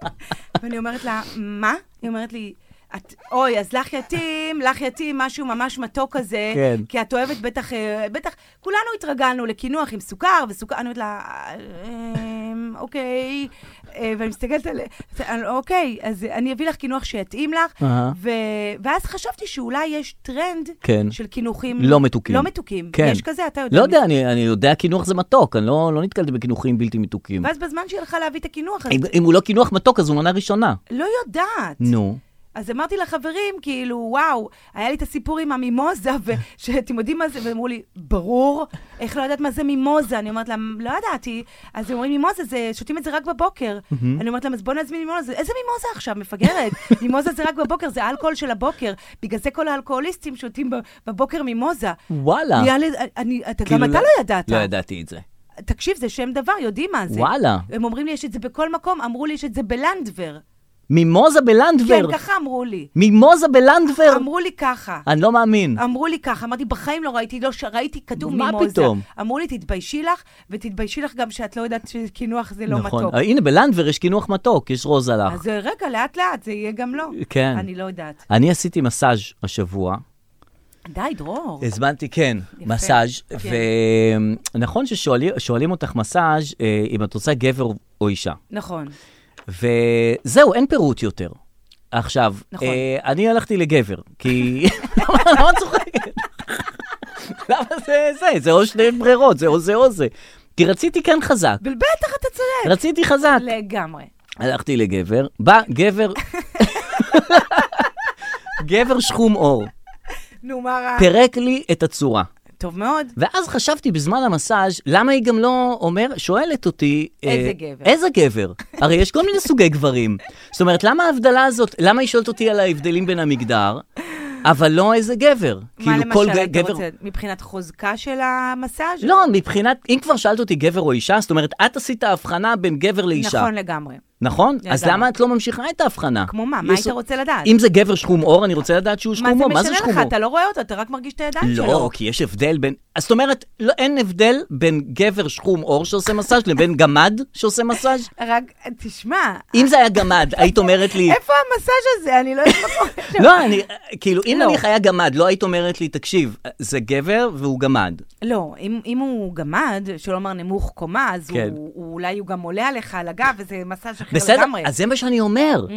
ואני אומרת לה, מה? היא אומרת לי, את, אוי, אז לך יתאים, לך יתאים משהו ממש מתוק כזה, כן. כי את אוהבת בטח, אה, בטח, כולנו התרגלנו לקינוח עם סוכר וסוכר, אני אומרת לה, "אמ, אוקיי, אה, ואני מסתכלת עליה, אוקיי, אז אני אביא לך קינוח שיתאים לך, אהה. ו... ואז חשבתי שאולי יש טרנד כן. של קינוחים לא מתוקים. לא מתוקים, כן. יש כזה, אתה יודע. לא יודע, אני אני יודע קינוח זה מתוק, אני לא לא נתקלתי בקינוחים בלתי מתוקים. ואז בזמן שהיא הלכה להביא את הקינוח, אז אם- אם הוא לא קינוח מתוק, אז הוא מנה ראשונה. לא יודעת. נו. אז אמרתי לחברים, כאילו, וואו, היה לי את הסיפור עם המימוזה, ושאתם יודעים מה זה, והם אמרו לי, ברור, איך לא יודעת מה זה מימוזה? אני אומרת להם, לא ידעתי. אז הם אומרים, מימוזה, זה, שותים את זה רק בבוקר. אני אומרת להם, אז בוא נזמין מימוזה. איזה מימוזה עכשיו, מפגרת? מימוזה זה רק בבוקר, זה האלכוהול של הבוקר. בגלל זה כל האלכוהוליסטים שותים ב- בבוקר מימוזה. וואלה. נהיה לי, אני, אתה, גם כאילו אתה לא ידעת. לא ידעתי את זה. תקשיב, זה שם דבר, יודעים מה זה. וואלה. הם אומרים לי, יש את זה בכל מקום, אמרו לי, יש את זה בלנדבר. מימוזה כן, בלנדבר. ככה אמרו לי. מימוזה בלנדבר. אמרו לי ככה. אני לא מאמין. אמרו לי ככה, אמרתי, בחיים לא ראיתי, לא ש- ראיתי כתוב מה מימוזה. פתאום? אמרו לי, תתביישי לך, ותתביישי לך גם שאת לא יודעת שקינוח זה לא נכון. מתוק. אה, הנה, בלנדבר יש קינוח מתוק, יש רוז הלך. אז אה, רגע, לאט-לאט, זה יהיה גם לא. כן. אני לא יודעת. אני עשיתי מסאז' השבוע. די, דרור. הזמנתי, כן, מסאז'. כן. ונכון ששואלים אותך מסאז' אה, אם את רוצה גבר או אישה. נכון. וזהו, אין פירוט יותר. עכשיו, נכון. אה, אני הלכתי לגבר, כי... למה למה את צוחקת? למה זה זה? זה או שני ברירות, זה או זה או זה. כי רציתי כן חזק, אבל בטח אתה צודק. רציתי חזק. לא. לגמרי. הלכתי לגבר, בא גבר... גבר שחום עור, נו, מה רע? פירק לי את הצורה. טוב מאוד. ואז חשבתי בזמן המסאז' למה היא גם לא אומר, שואלת אותי... איזה אה, גבר. איזה גבר? הרי יש כל מיני סוגי גברים. זאת אומרת, למה ההבדלה הזאת, למה היא שואלת אותי על ההבדלים בין המגדר, אבל לא איזה גבר? מה כאילו, כל למשל ג- היית גבר... רוצה? מבחינת חוזקה של המסאז'? לא, מבחינת, אם כבר שאלת אותי גבר או אישה, זאת אומרת, את עשית הבחנה בין גבר לאישה. נכון לגמרי. נכון? אז לגמרי. למה את לא ממשיכה את ההבחנה? כמו מה? מה יש- היית רוצה לדעת? אם זה גבר שחום עור, אני רוצה לדעת שהוא מה שחום זה עור. מה זה משנה שחום לך? עור? אתה לא רואה אותו, אתה רק מרגיש את הידיים שלו. לא, כי יש הבדל בין... אז זאת אומרת, לא, אין הבדל בין גבר שחום עור שעושה מסאז' לבין גמד שעושה מסאז'? רק, תשמע, אם זה היה גמד, היית אומרת לי... איפה המסאז' הזה? אני לא יודעת מה קורה שם. לא, אני... כאילו, אם לא. נניח היה גמד, לא היית אומרת לי, תקשיב, זה גבר והוא גמד. לא, אם, אם הוא גמד, שלא אומר נמוך קומה, אז כן. כן. הוא, הוא אולי הוא גם עולה עליך על הגב, וזה מסאז' אחר בסדר? לגמרי. אז זה מה שאני אומר. אה,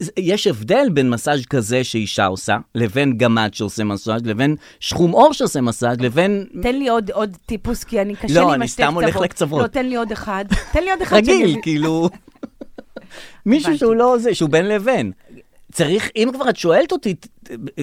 Mm. יש הבדל בין מסאז' כזה שאישה עושה, לבין גמד שעושה מסאז', לבין שחום עור שעושה מסאז', לבין... תן לי עוד, עוד טיפוס, כי אני קשה לא, לי עם אני השתי סתם הולך לקצוות. לא, תן לי עוד אחד. תן לי עוד אחד. רגיל, שאני- כאילו... מישהו שהוא לא זה, שהוא בין לבין. צריך, אם כבר את שואלת אותי, ת-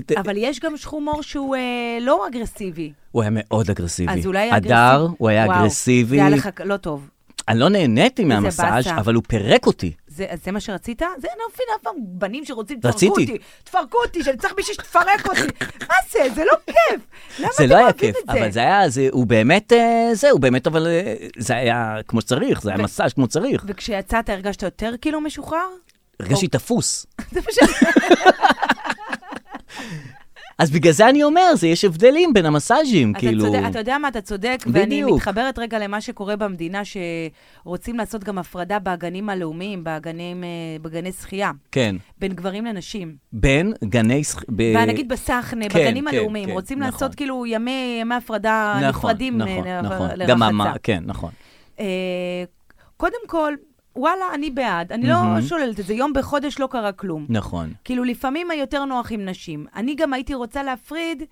ת- אבל יש גם שחום עור שהוא אה, לא אגרסיבי. הוא היה מאוד אגרסיבי. אז אולי אגרסיבי. הדר, הוא היה וואו, אגרסיבי. זה היה לך לא טוב. אני לא נהניתי מהמסאז', באסה. אבל הוא פירק אותי. זה, אז זה מה שרצית? זה אני לא מבינה אף פעם, בנים שרוצים, תפרקו רציתי. אותי, תפרקו אותי, שאני צריך מישהו שתפרק אותי. מה זה? זה לא כיף. למה זה אתם לא היה אוהבים כיף, את אבל זה היה, זה- הוא באמת, אה, זה, הוא באמת, אבל אה, זה היה כמו שצריך, זה היה ו- מסאז' כמו שצריך. וכשיצאת הרגשת יותר כאילו משוחרר? הרגשתי תפוס. זה מה שאני... אז בגלל זה אני אומר, זה יש הבדלים בין המסאז'ים, אתה כאילו... צודק, אתה יודע מה, אתה צודק, ואני בדיוק. מתחברת רגע למה שקורה במדינה, שרוצים לעשות גם הפרדה באגנים הלאומיים, באגנים, אה, בגני שחייה, כן. בין גברים לנשים. בין גני... שח- ב- ונגיד בסחנה, אה, כן, בגנים כן, הלאומיים, כן, רוצים נכון. לעשות כאילו ימי ימי הפרדה נכון, נפרדים אה, נכון, ל- נכון. לרחצה. גם המ... כן, נכון. אה, קודם כל, וואלה, אני בעד, אני לא שוללת את זה, יום בחודש לא קרה כלום. נכון. כאילו, לפעמים היותר נוח עם נשים. אני גם הייתי רוצה להפריד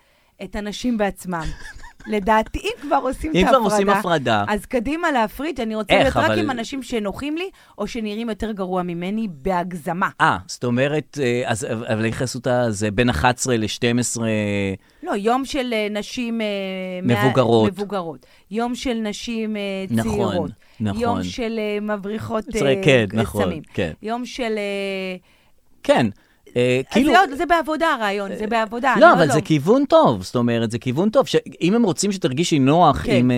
את הנשים בעצמם. לדעתי, אם כבר עושים את אם ההפרדה, כבר עושים הפרדה. אז קדימה להפריד, אני רוצה איך, להיות רק אבל- עם אנשים שנוחים לי, או שנראים יותר גרוע ממני בהגזמה. אה, זאת אומרת, אה, אז, אבל היחס אותה זה בין 11 ל-12, לא, יום של אה, נשים... אה, מה- מבוגרות. מבוגרות. יום של נשים אה, נכון, צעירות. נכון. יום של אה, מבריחות צעיר- אה, כן, סמים. נכון, כן. יום של... אה, כן. אה, כאילו... כאילו... אז זה עוד- זה בעבודה הרעיון, זה בעבודה. אני לא, עוד אבל זה כיוון טוב, זאת אומרת, זה כיוון טוב. שאם הם רוצים שתרגישי נוח כן. עם אה,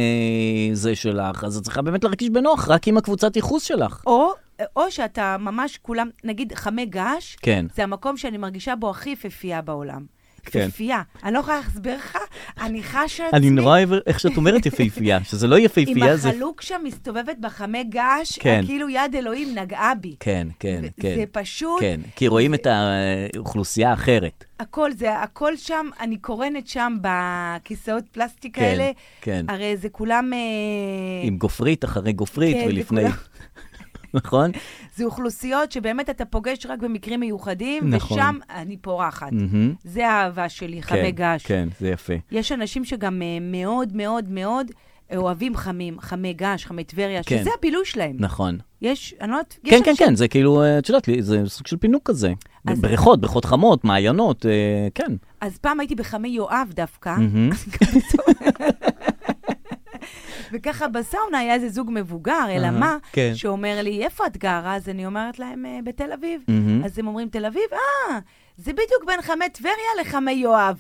זה שלך, אז את צריכה באמת להרגיש בנוח רק עם הקבוצת ייחוס שלך. או, או שאתה ממש כולם, נגיד חמי געש, כן. זה המקום שאני מרגישה בו הכי יפיפייה בעולם. כן. יפיפייה. אני לא יכולה להסביר לך, אני חשה עצמי... אני נורא אוהב איך שאת אומרת יפהפייה, שזה לא עם יפהפייה, זה... החלוק שם מסתובבת בחמי געש, כן. כאילו יד אלוהים נגעה בי. כן, כן, ו- כן. זה פשוט, כן, כי רואים את האוכלוסייה האחרת. הכל זה, הכל שם, אני קורנת שם בכיסאות פלסטיק כן, האלה. כן. הרי זה כולם... אה, עם גופרית אחרי גופרית כן, זה ולפני... כולם. נכון? זה אוכלוסיות שבאמת אתה פוגש רק במקרים מיוחדים, נכון. ושם אני פורחת. מהמם. זה האהבה שלי, חמי כן, געש. כן, זה יפה. יש אנשים שגם אה, מאוד מאוד מאוד אה, אוהבים חמים, חמי געש, חמי טבריה, כן. שזה הבילוי שלהם. נכון. יש, אני לא יודעת, יש כן, כן, אנשים- כן, זה כאילו, אה, את יודעת, לי, זה סוג של פינוק כזה. אז- בריכות, בריכות חמות, מעיינות, אה, כן. אז פעם הייתי בחמי יואב דווקא, מהמם. וככה בסאונה היה איזה זוג מבוגר, אלא אהה, מה, כן. שאומר לי, איפה את גרה? אז אני אומרת להם, "אה, בתל אביב. מהמם. אז הם אומרים, תל אביב? אה, זה בדיוק בין חמי טבריה לחמי יואב.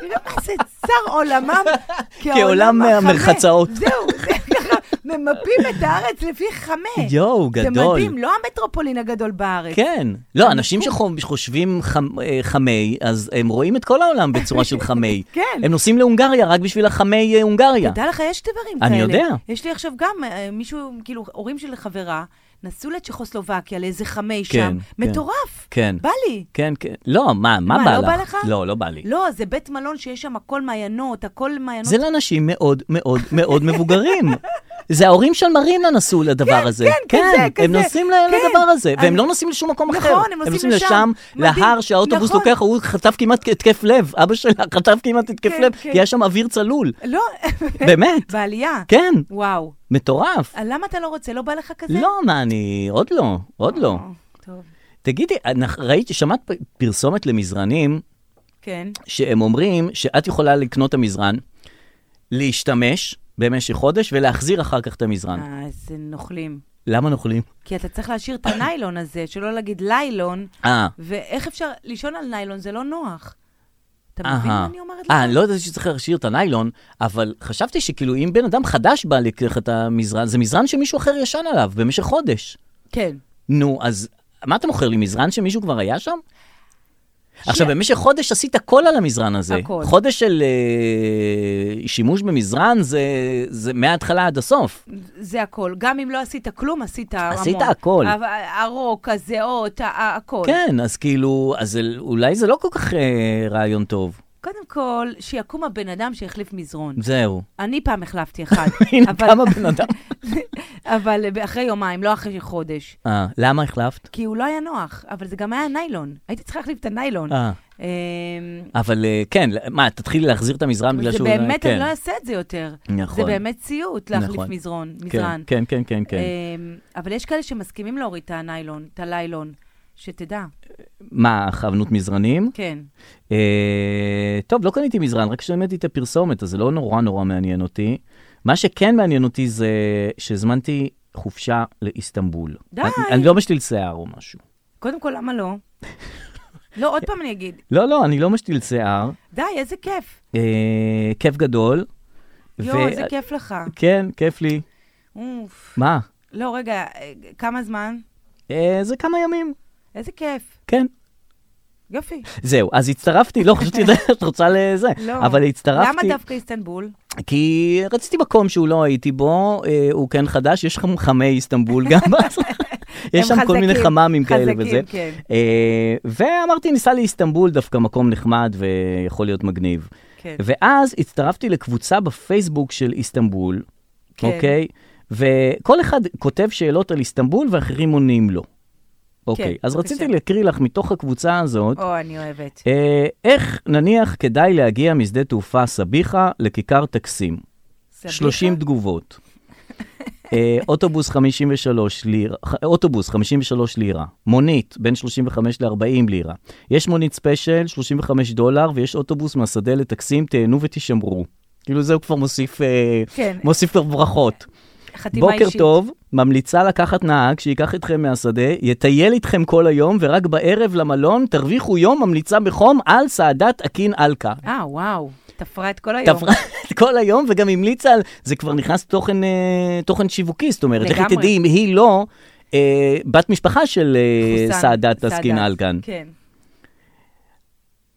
אני לא יודעת מה זה צר עולמם כעולם החמה. המרחצאות. זהו, זה ככה, ממפים את הארץ לפי חמי. יואו, גדול. אה, זה מדהים, לא המטרופולין הגדול בארץ. כן. לא, אנשים שחושבים חמ- אה, חמי, אז הם רואים את כל העולם בצורה של חמי. כן. הם נוסעים להונגריה רק בשביל החמי אה, הונגריה. תדע לך, יש דברים אני כאלה. יודע. יש לי עכשיו גם אה, מישהו, כאילו, הורים של חברה, נסעו לצ'כוסלובקיה, לאיזה חמי כן, שם. כן. מטורף. כן. בא לי. כן, כן. לא, מה, מה מה, בא לא לך? בא לך? לא, לא בא לי. לא, זה בית מלון שיש שם הכל מעיינות, הכל מעיינות. זה לאנשים מאוד מאוד מאוד מבוגרים. זה ההורים של מרינה נסעו לדבר כן, הזה. כן, כזה, הם כזה. נוסעים כן. לדבר הזה, והם אני- לא נוסעים לשום מקום נכון, אחר. הם נוסעים לשם. מדהים. להר שהאוטובוס נכון. לוקח, הוא חטף כמעט התקף לב. אבא שלה חטף כמעט התקף כן, לב, כן. כי היה שם אוויר צלול. לא, באמת, בעלייה. כן, וואו. מטורף. אה, למה אתה לא רוצה? לא בא לך כזה? לא, מה, אני... עוד לא, עוד לא. אה, טוב, תגידי, אנחנו- ראיתי, שמעת פ- פרסומת למזרנים, כן. שהם אומרים שאת יכולה לקנות את המזרן, להשתמש במשך חודש ולהחזיר אחר כך את המזרן. אה, איזה נוכלים. למה נוכלים? כי אתה צריך להשאיר את הניילון הזה, שלא להגיד ליילון, אה, ואיך אפשר, לישון על ניילון זה לא נוח. אתה מבין אהה. מה אני אומרת לך? אה, אני לא ידעתי שצריך להשאיר את הניילון, אבל חשבתי שכאילו אם בן אדם חדש בא לקח את המזרן, זה מזרן שמישהו אחר ישן עליו במשך חודש. כן. נו, אז מה אתה מוכר לי, מזרן שמישהו כבר היה שם? עכשיו, במשך חודש עשית הכל על המזרן הזה. הכל. חודש של אה, שימוש במזרן זה, זה מההתחלה עד הסוף. זה הכל. גם אם לא עשית כלום, עשית המון. עשית הכל. ה- הרוק, הזיעות, ה- ה- הכל. כן, אז כאילו, אז זה- אולי זה לא כל כך אה, רעיון טוב. קודם כל, שיקום הבן אדם שהחליף מזרון. זהו. אני פעם החלפתי אחד. הנה אבל- כמה בן אדם. אבל אחרי יומיים, לא אחרי חודש. אה, למה החלפת? כי הוא לא היה נוח, אבל זה גם היה ניילון. הייתי צריכה להחליף את הניילון. אה. אמ, אבל אה, כן, מה, תתחילי להחזיר את המזרן בגלל זה שהוא... באמת, כן. אני לא אעשה את זה יותר. נכון. זה באמת סיוט להחליף נכון. מזרון, כן, מזרן. כן, כן, כן, כן. אמ, אבל יש כאלה שמסכימים להוריד את הניילון, את הליילון, שתדע. מה, כוונות מזרנים? כן. אה, טוב, לא קניתי מזרן, רק שהאמתי את הפרסומת, אז זה לא נורא נורא מעניין אותי. מה שכן מעניין אותי זה שהזמנתי חופשה לאיסטנבול. די. אני, אני לא משתיל שיער או משהו. קודם כל, למה לא? לא, עוד פעם אני אגיד, לא, לא, אני לא משתיל שיער. די, איזה כיף. אה, כיף גדול. יואו, איזה כיף לך. כן, כיף לי. אוף. מה? לא, רגע, אה, כמה זמן? אה, זה כמה ימים. איזה כיף. כן. יופי. זהו, אז הצטרפתי, לא חשבתי שאת רוצה לזה, לא. אבל הצטרפתי. למה דווקא איסטנבול? כי רציתי מקום שהוא לא הייתי בו, אה, הוא כן חדש, יש שם חמי איסטנבול גם. אז יש שם הם כל מיני חזקים, חממים כאלה חזקים, וזה. כן. אה, ואמרתי, ניסע לאיסטנבול, דווקא מקום נחמד ויכול להיות מגניב. כן. ואז הצטרפתי לקבוצה בפייסבוק של איסטנבול, כן. אוקיי? וכל אחד כותב שאלות על איסטנבול ואחרים עונים לו. אוקיי, אז כן, בבקשה. רציתי להקריא לך מתוך הקבוצה הזאת. או, אני אוהבת. אה, איך נניח כדאי להגיע משדה תעופה סביחה לכיכר טקסים? סביחה? 30 תגובות. אה, אוטובוס 53 לירה, ח- אוטובוס 53 לירה, מונית בין 35 ל-40 לירה, יש מונית ספיישל 35 דולר ויש אוטובוס מהשדה לטקסים, תהנו ותשמרו. כאילו זה הוא כבר מוסיף, אה, כן. מוסיף כבר ברכות. חתימה בוקר אישית. טוב, ממליצה לקחת נהג שייקח אתכם מהשדה, יטייל איתכם כל היום ורק בערב למלון תרוויחו יום ממליצה בחום על סעדת אקין אלקה. אה, וואו, תפרה את כל היום. תפרה את כל היום וגם המליצה על, זה כבר נכנס תוכן, אה, תוכן שיווקי, זאת אומרת, איך היא לגמרי. תדעי אם היא לא אה, בת משפחה של אה, חוסן, סעדת עסקין אלקן. כן.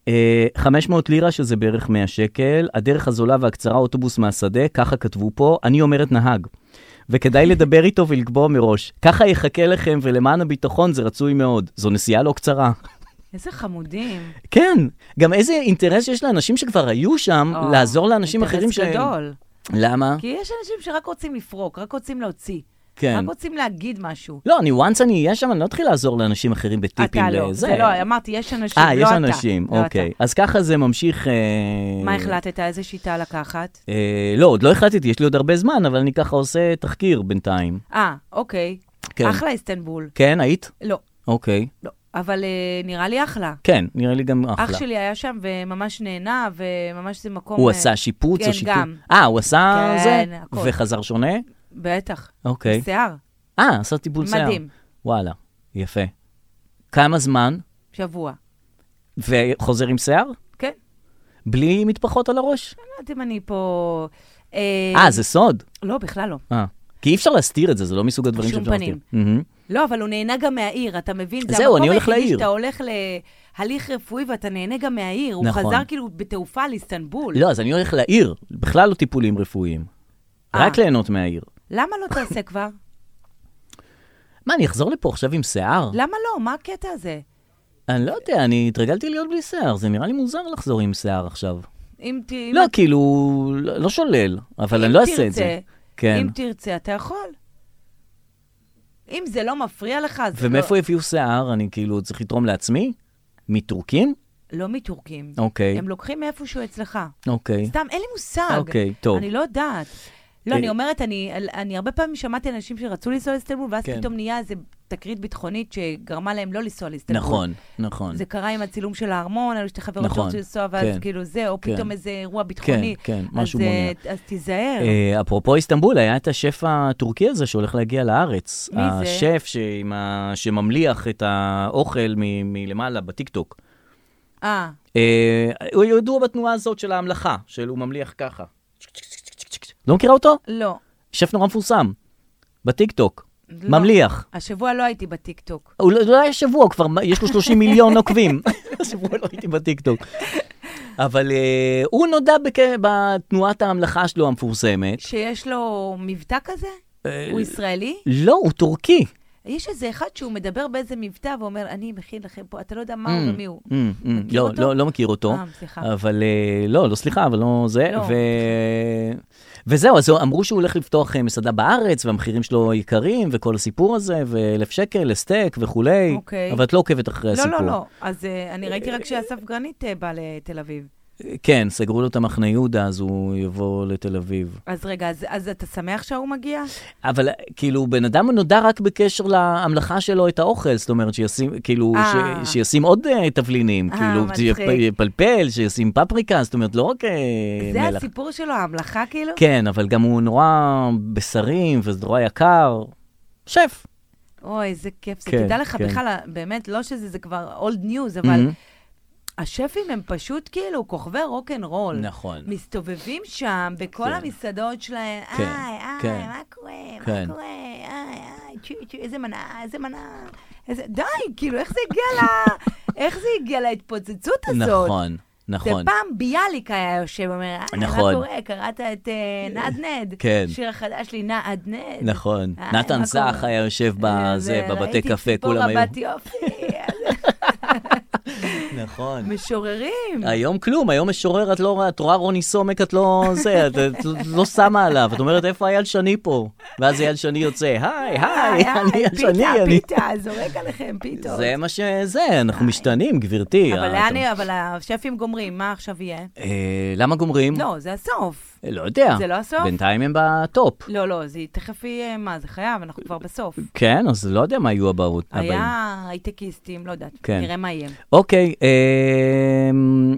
אה, 500 לירה, שזה בערך 100 שקל, הדרך הזולה והקצרה, אוטובוס מהשדה, ככה כתבו פה, אני אומרת נהג. וכדאי לדבר איתו ולקבוע מראש. ככה יחכה לכם, ולמען הביטחון זה רצוי מאוד. זו נסיעה לא קצרה. איזה חמודים. כן, גם איזה אינטרס יש לאנשים שכבר היו שם, או, אה, לעזור לאנשים אחרים אינטרס שהם... גדול. למה? כי יש אנשים שרק רוצים לפרוק, רק רוצים להוציא. כן. רק רוצים להגיד משהו. לא, אני, once אני אהיה שם, אני לא אתחיל לעזור לאנשים אחרים בטיפים אתה לא, לזה. זה לא, אמרתי, יש אנשים, אה, לא יש אתה. אנשים, לא אוקיי. אז ככה זה ממשיך... אה, אתה. מה החלטת? איזה שיטה לקחת? אה, לא, עוד לא החלטתי, יש לי עוד הרבה זמן, אבל אני ככה עושה תחקיר בינתיים. אה, אוקיי. כן. אחלה איסטנבול. כן, היית? לא, אוקיי. לא. אבל אה, נראה לי אחלה. כן, נראה לי גם אחלה. אח שלי היה שם וממש נהנה, וממש זה מקום... הוא אה, עשה שיפוץ כן, או שיפוץ? גם. אה, הוא עשה כן, זה? הכל. וחזר שונה? בטח. אוקיי. שיער, אה, עשה טיפול שיער. מדהים. וואלה, יפה. כמה זמן? שבוע. וחוזר עם שיער? כן? בלי מטפחות על הראש? אני לא יודעת אם אני פה... אה, אה, זה סוד. לא, בכלל לא. אה. כי אי אפשר להסתיר את זה, זה לא מסוג הדברים בשום שאפשר להסתיר. פנים. פנים. לא, אבל הוא נהנה גם מהעיר, אתה מבין? זהו, אני הולך המקום לעיר. היחידי שאתה הולך להליך רפואי ואתה נהנה גם מהעיר. הוא נכון. חזר כאילו בתעופה לאיסטנבול. לא, אז אני הולך לעיר, בכלל לא טיפולים רפואיים. אה. רק ליהנות מהעיר. למה לא תעשה כבר? אה. מה, אני אחזור לפה עכשיו עם שיער? למה לא? מה הקטע הזה? אני לא יודע, אני התרגלתי להיות בלי שיער, זה נראה לי מוזר לחזור עם שיער עכשיו. אם ת... לא, כאילו, לא לא שולל, אבל אני לא אעשה את זה. כן. אם תרצה, אתה יכול. אם זה לא מפריע לך, אז... ומאיפה לא, הביאו שיער? אני כאילו צריך לתרום לעצמי? מטורקים? לא מטורקים. אוקיי, הם לוקחים מאיפשהו אצלך. אוקיי. סתם, אין לי מושג. אוקיי, טוב. אני לא יודעת. לא, אה, אני אומרת, אני, אני הרבה פעמים שמעתי אנשים שרצו לנסוע לאיסטנבול, ואז כן. פתאום נהיה איזו תקרית ביטחונית שגרמה להם לא לנסוע לאיסטנבול. נכון, נכון. זה קרה עם הצילום של הארמון, היו שתי חברות נכון, שרצו לנסוע, ואז כן. כאילו זה, או כן. פתאום איזה אירוע ביטחוני. כן, משהו אז, אה, מונע. אז תיזהר. אה, אפרופו איסטנבול, היה את השף הטורקי הזה שהולך להגיע לארץ. מי זה? השף שעם ה... שממליח את האוכל מ... מלמעלה בטיקטוק. אה, אה, הוא ידוע בתנועה הזאת של ההמלכה, של הוא ממליח ככה. לא מכירה אותו? לא. שף נורא מפורסם. בטיקטוק. לא. ממליח. השבוע לא הייתי בטיקטוק. הוא לא- לא היה שבוע, כבר מה- יש לו 30 מיליון עוקבים. השבוע לא הייתי בטיקטוק. אבל אה, הוא נודע בכ... בתנועת ההמלכה שלו המפורסמת. שיש לו מבטא כזה? אה, הוא ישראלי? לא, הוא טורקי. יש איזה אחד שהוא מדבר באיזה מבטא ואומר, אני מכין לכם פה, אתה לא יודע מה הוא ומי הוא. Mm, mm, מכיר לא, אותו? לא, לא מכיר אותו. אה, סליחה. אבל אה, לא, לא סליחה, אבל לא זה. לא. ו... וזהו, אז אמרו שהוא הולך לפתוח אה, מסעדה בארץ, והמחירים שלו יקרים, וכל הסיפור הזה, ואלף שקל לסטייק וכולי. אוקיי. אבל את לא עוקבת אחרי לא, הסיפור. לא, לא. אז אה, אני ראיתי רק שאסף גרנית אה, בא לתל אביב. כן, סגרו לו את המחנה יהודה, אז הוא יבוא לתל אביב. אז רגע, אז- אז אתה שמח שההוא מגיע? אבל אה, כאילו, בן אדם נודע רק בקשר להמלכה שלו את האוכל, זאת אומרת, שישים, כאילו, אה. ש, שישים עוד אה, תבלינים, אה, כאילו, מצחיק. יפלפל, שישים פפריקה, זאת אומרת, לא רק אה, זה מלח. הסיפור שלו, ההמלכה כאילו? כן, אבל גם הוא נורא בשרים, וזה נורא יקר. שף. אוי, איזה כיף. זה כן, תדע לך כן. בכלל, אה, באמת, לא שזה זה כבר old news, אבל השפים הם פשוט כאילו כוכבי רוקנרול. נכון. מסתובבים שם בכל כן. המסעדות שלהם, כן, איי, איי, כן. מה קורה, כן. מה קורה, איי, איי, צ'י, צ'י, איזה מנה, איזה מנה, איזה- די, כאילו, איך זה הגיע ל... איך זה הגיע להתפוצצות הזאת? נכון, נכון. זה פעם ביאליק היה יושב ואומר, "אה, נכון. מה קורה? קראת את אה, נדנד? כן. השיר החדש שלי, נדנד. נכון. אה, נתן מה זך קורה? היה יושב אה, בזה, זה, בבתי קפה, כולם ראיתי היו... ציפורה בת יופי, נכון. משוררים. היום כלום, היום משורר, את לא רואה, את רואה רוני סומק, את לא זה, את את לא שמה עליו, את אומרת, איפה אייל שני פה? ואז אייל שני יוצא, היי, היי, אני אייל שני, פיתה, אני... פיתה, זורק עליכם פיתות. זה מה שזה, אנחנו משתנים, גברתי. אבל אה, לאן- אבל השפים גומרים, מה עכשיו יהיה? אה, למה גומרים? לא, זה הסוף. אה, לא יודע. זה לא הסוף? בינתיים הם בטופ. לא, לא, זה תכף יהיה, מה, זה חייב, אנחנו כבר בסוף. כן, אז לא יודע מה יהיו הבאות. הבאים. היה הייטקיסטים, לא יודעת, כן. נראה מה יהיה. אוקיי, אמ,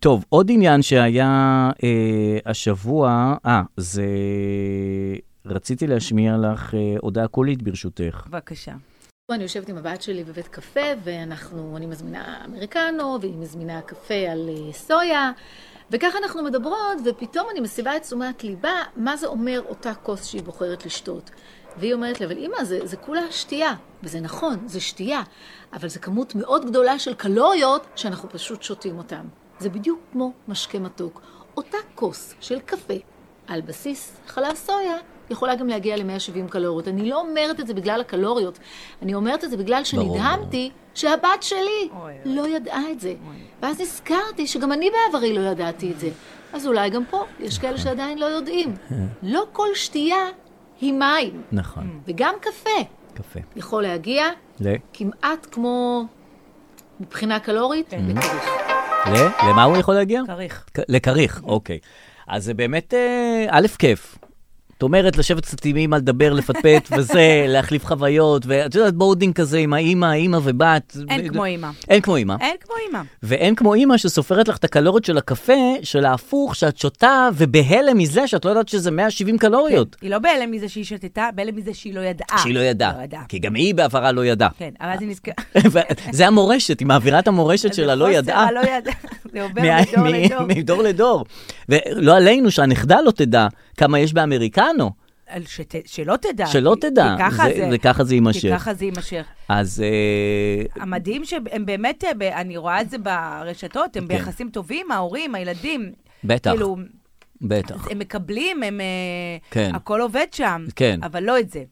טוב, עוד עניין שהיה אה, השבוע, אה, זה... רציתי להשמיע לך אה, הודעה קולית, ברשותך. בבקשה. אני יושבת עם הבת שלי בבית קפה, ואנחנו, אני מזמינה אמריקנו, והיא מזמינה קפה על אה, סויה, וככה אנחנו מדברות, ופתאום אני מסבה את תשומת ליבה, מה זה אומר אותה כוס שהיא בוחרת לשתות. והיא אומרת לי, אבל אימא, זה, זה כולה שתייה. וזה נכון, זה שתייה, אבל זו כמות מאוד גדולה של קלוריות שאנחנו פשוט שותים אותן. זה בדיוק כמו משקה מתוק. אותה כוס של קפה על בסיס חלב סויה, יכולה גם להגיע ל-170 קלוריות. אני לא אומרת את זה בגלל הקלוריות, אני אומרת את זה בגלל ברור, שנדהמתי שהבת שלי אוי, אוי. לא ידעה את זה. ואז נזכרתי שגם אני בעברי לא ידעתי את זה. אז אולי גם פה, יש כאלה שעדיין לא יודעים. לא כל שתייה היא מים, נכון, וגם קפה Mm. קפה. יכול להגיע ל? כמעט כמו מבחינה קלורית. כן. לכריך. ל? למה הוא יכול להגיע? כריך. Mm. כ- לכריך, אוקיי. אז זה באמת, אה, א', כיף. את אומרת, לשבת קצת עם אימא, לדבר, לפטפט וזה, להחליף חוויות, ואת יודעת, בורדינג כזה עם האימא, אימא ובת. אין כמו אימא. אין כמו אימא. אין כמו אימא. ואין כמו אימא שסופרת לך את הקלוריות של הקפה, של ההפוך, שאת שותה, ובהלם מזה שאת לא יודעת שזה 170 קלוריות. היא לא בהלם מזה שהיא שתתה, בהלם מזה שהיא לא ידעה. שהיא לא ידעה. לא ידעה. כי גם היא בעברה לא ידעה. כן, אבל אז היא נזכרה. זה המורשת, היא מעבירה את המורשת שלה, לא ידעה. לא ידעה. זה עובר מה- מדור מ- לדור. מדור לדור. ולא עלינו, שהנכדה לא תדע כמה יש באמריקנו, על שת- שלא תדע. שלא כי- תדע. כי ככה זה- זה. זה ככה זה כי יימשך. ככה זה יימשך. אז אה, המדהים שהם באמת, אה, ב- אני רואה את זה ברשתות, הם כן. ביחסים טובים, ההורים, הילדים. בטח. כאילו, בטח. הם מקבלים, הם... אה, כן. הכל עובד שם. כן. אבל לא את זה.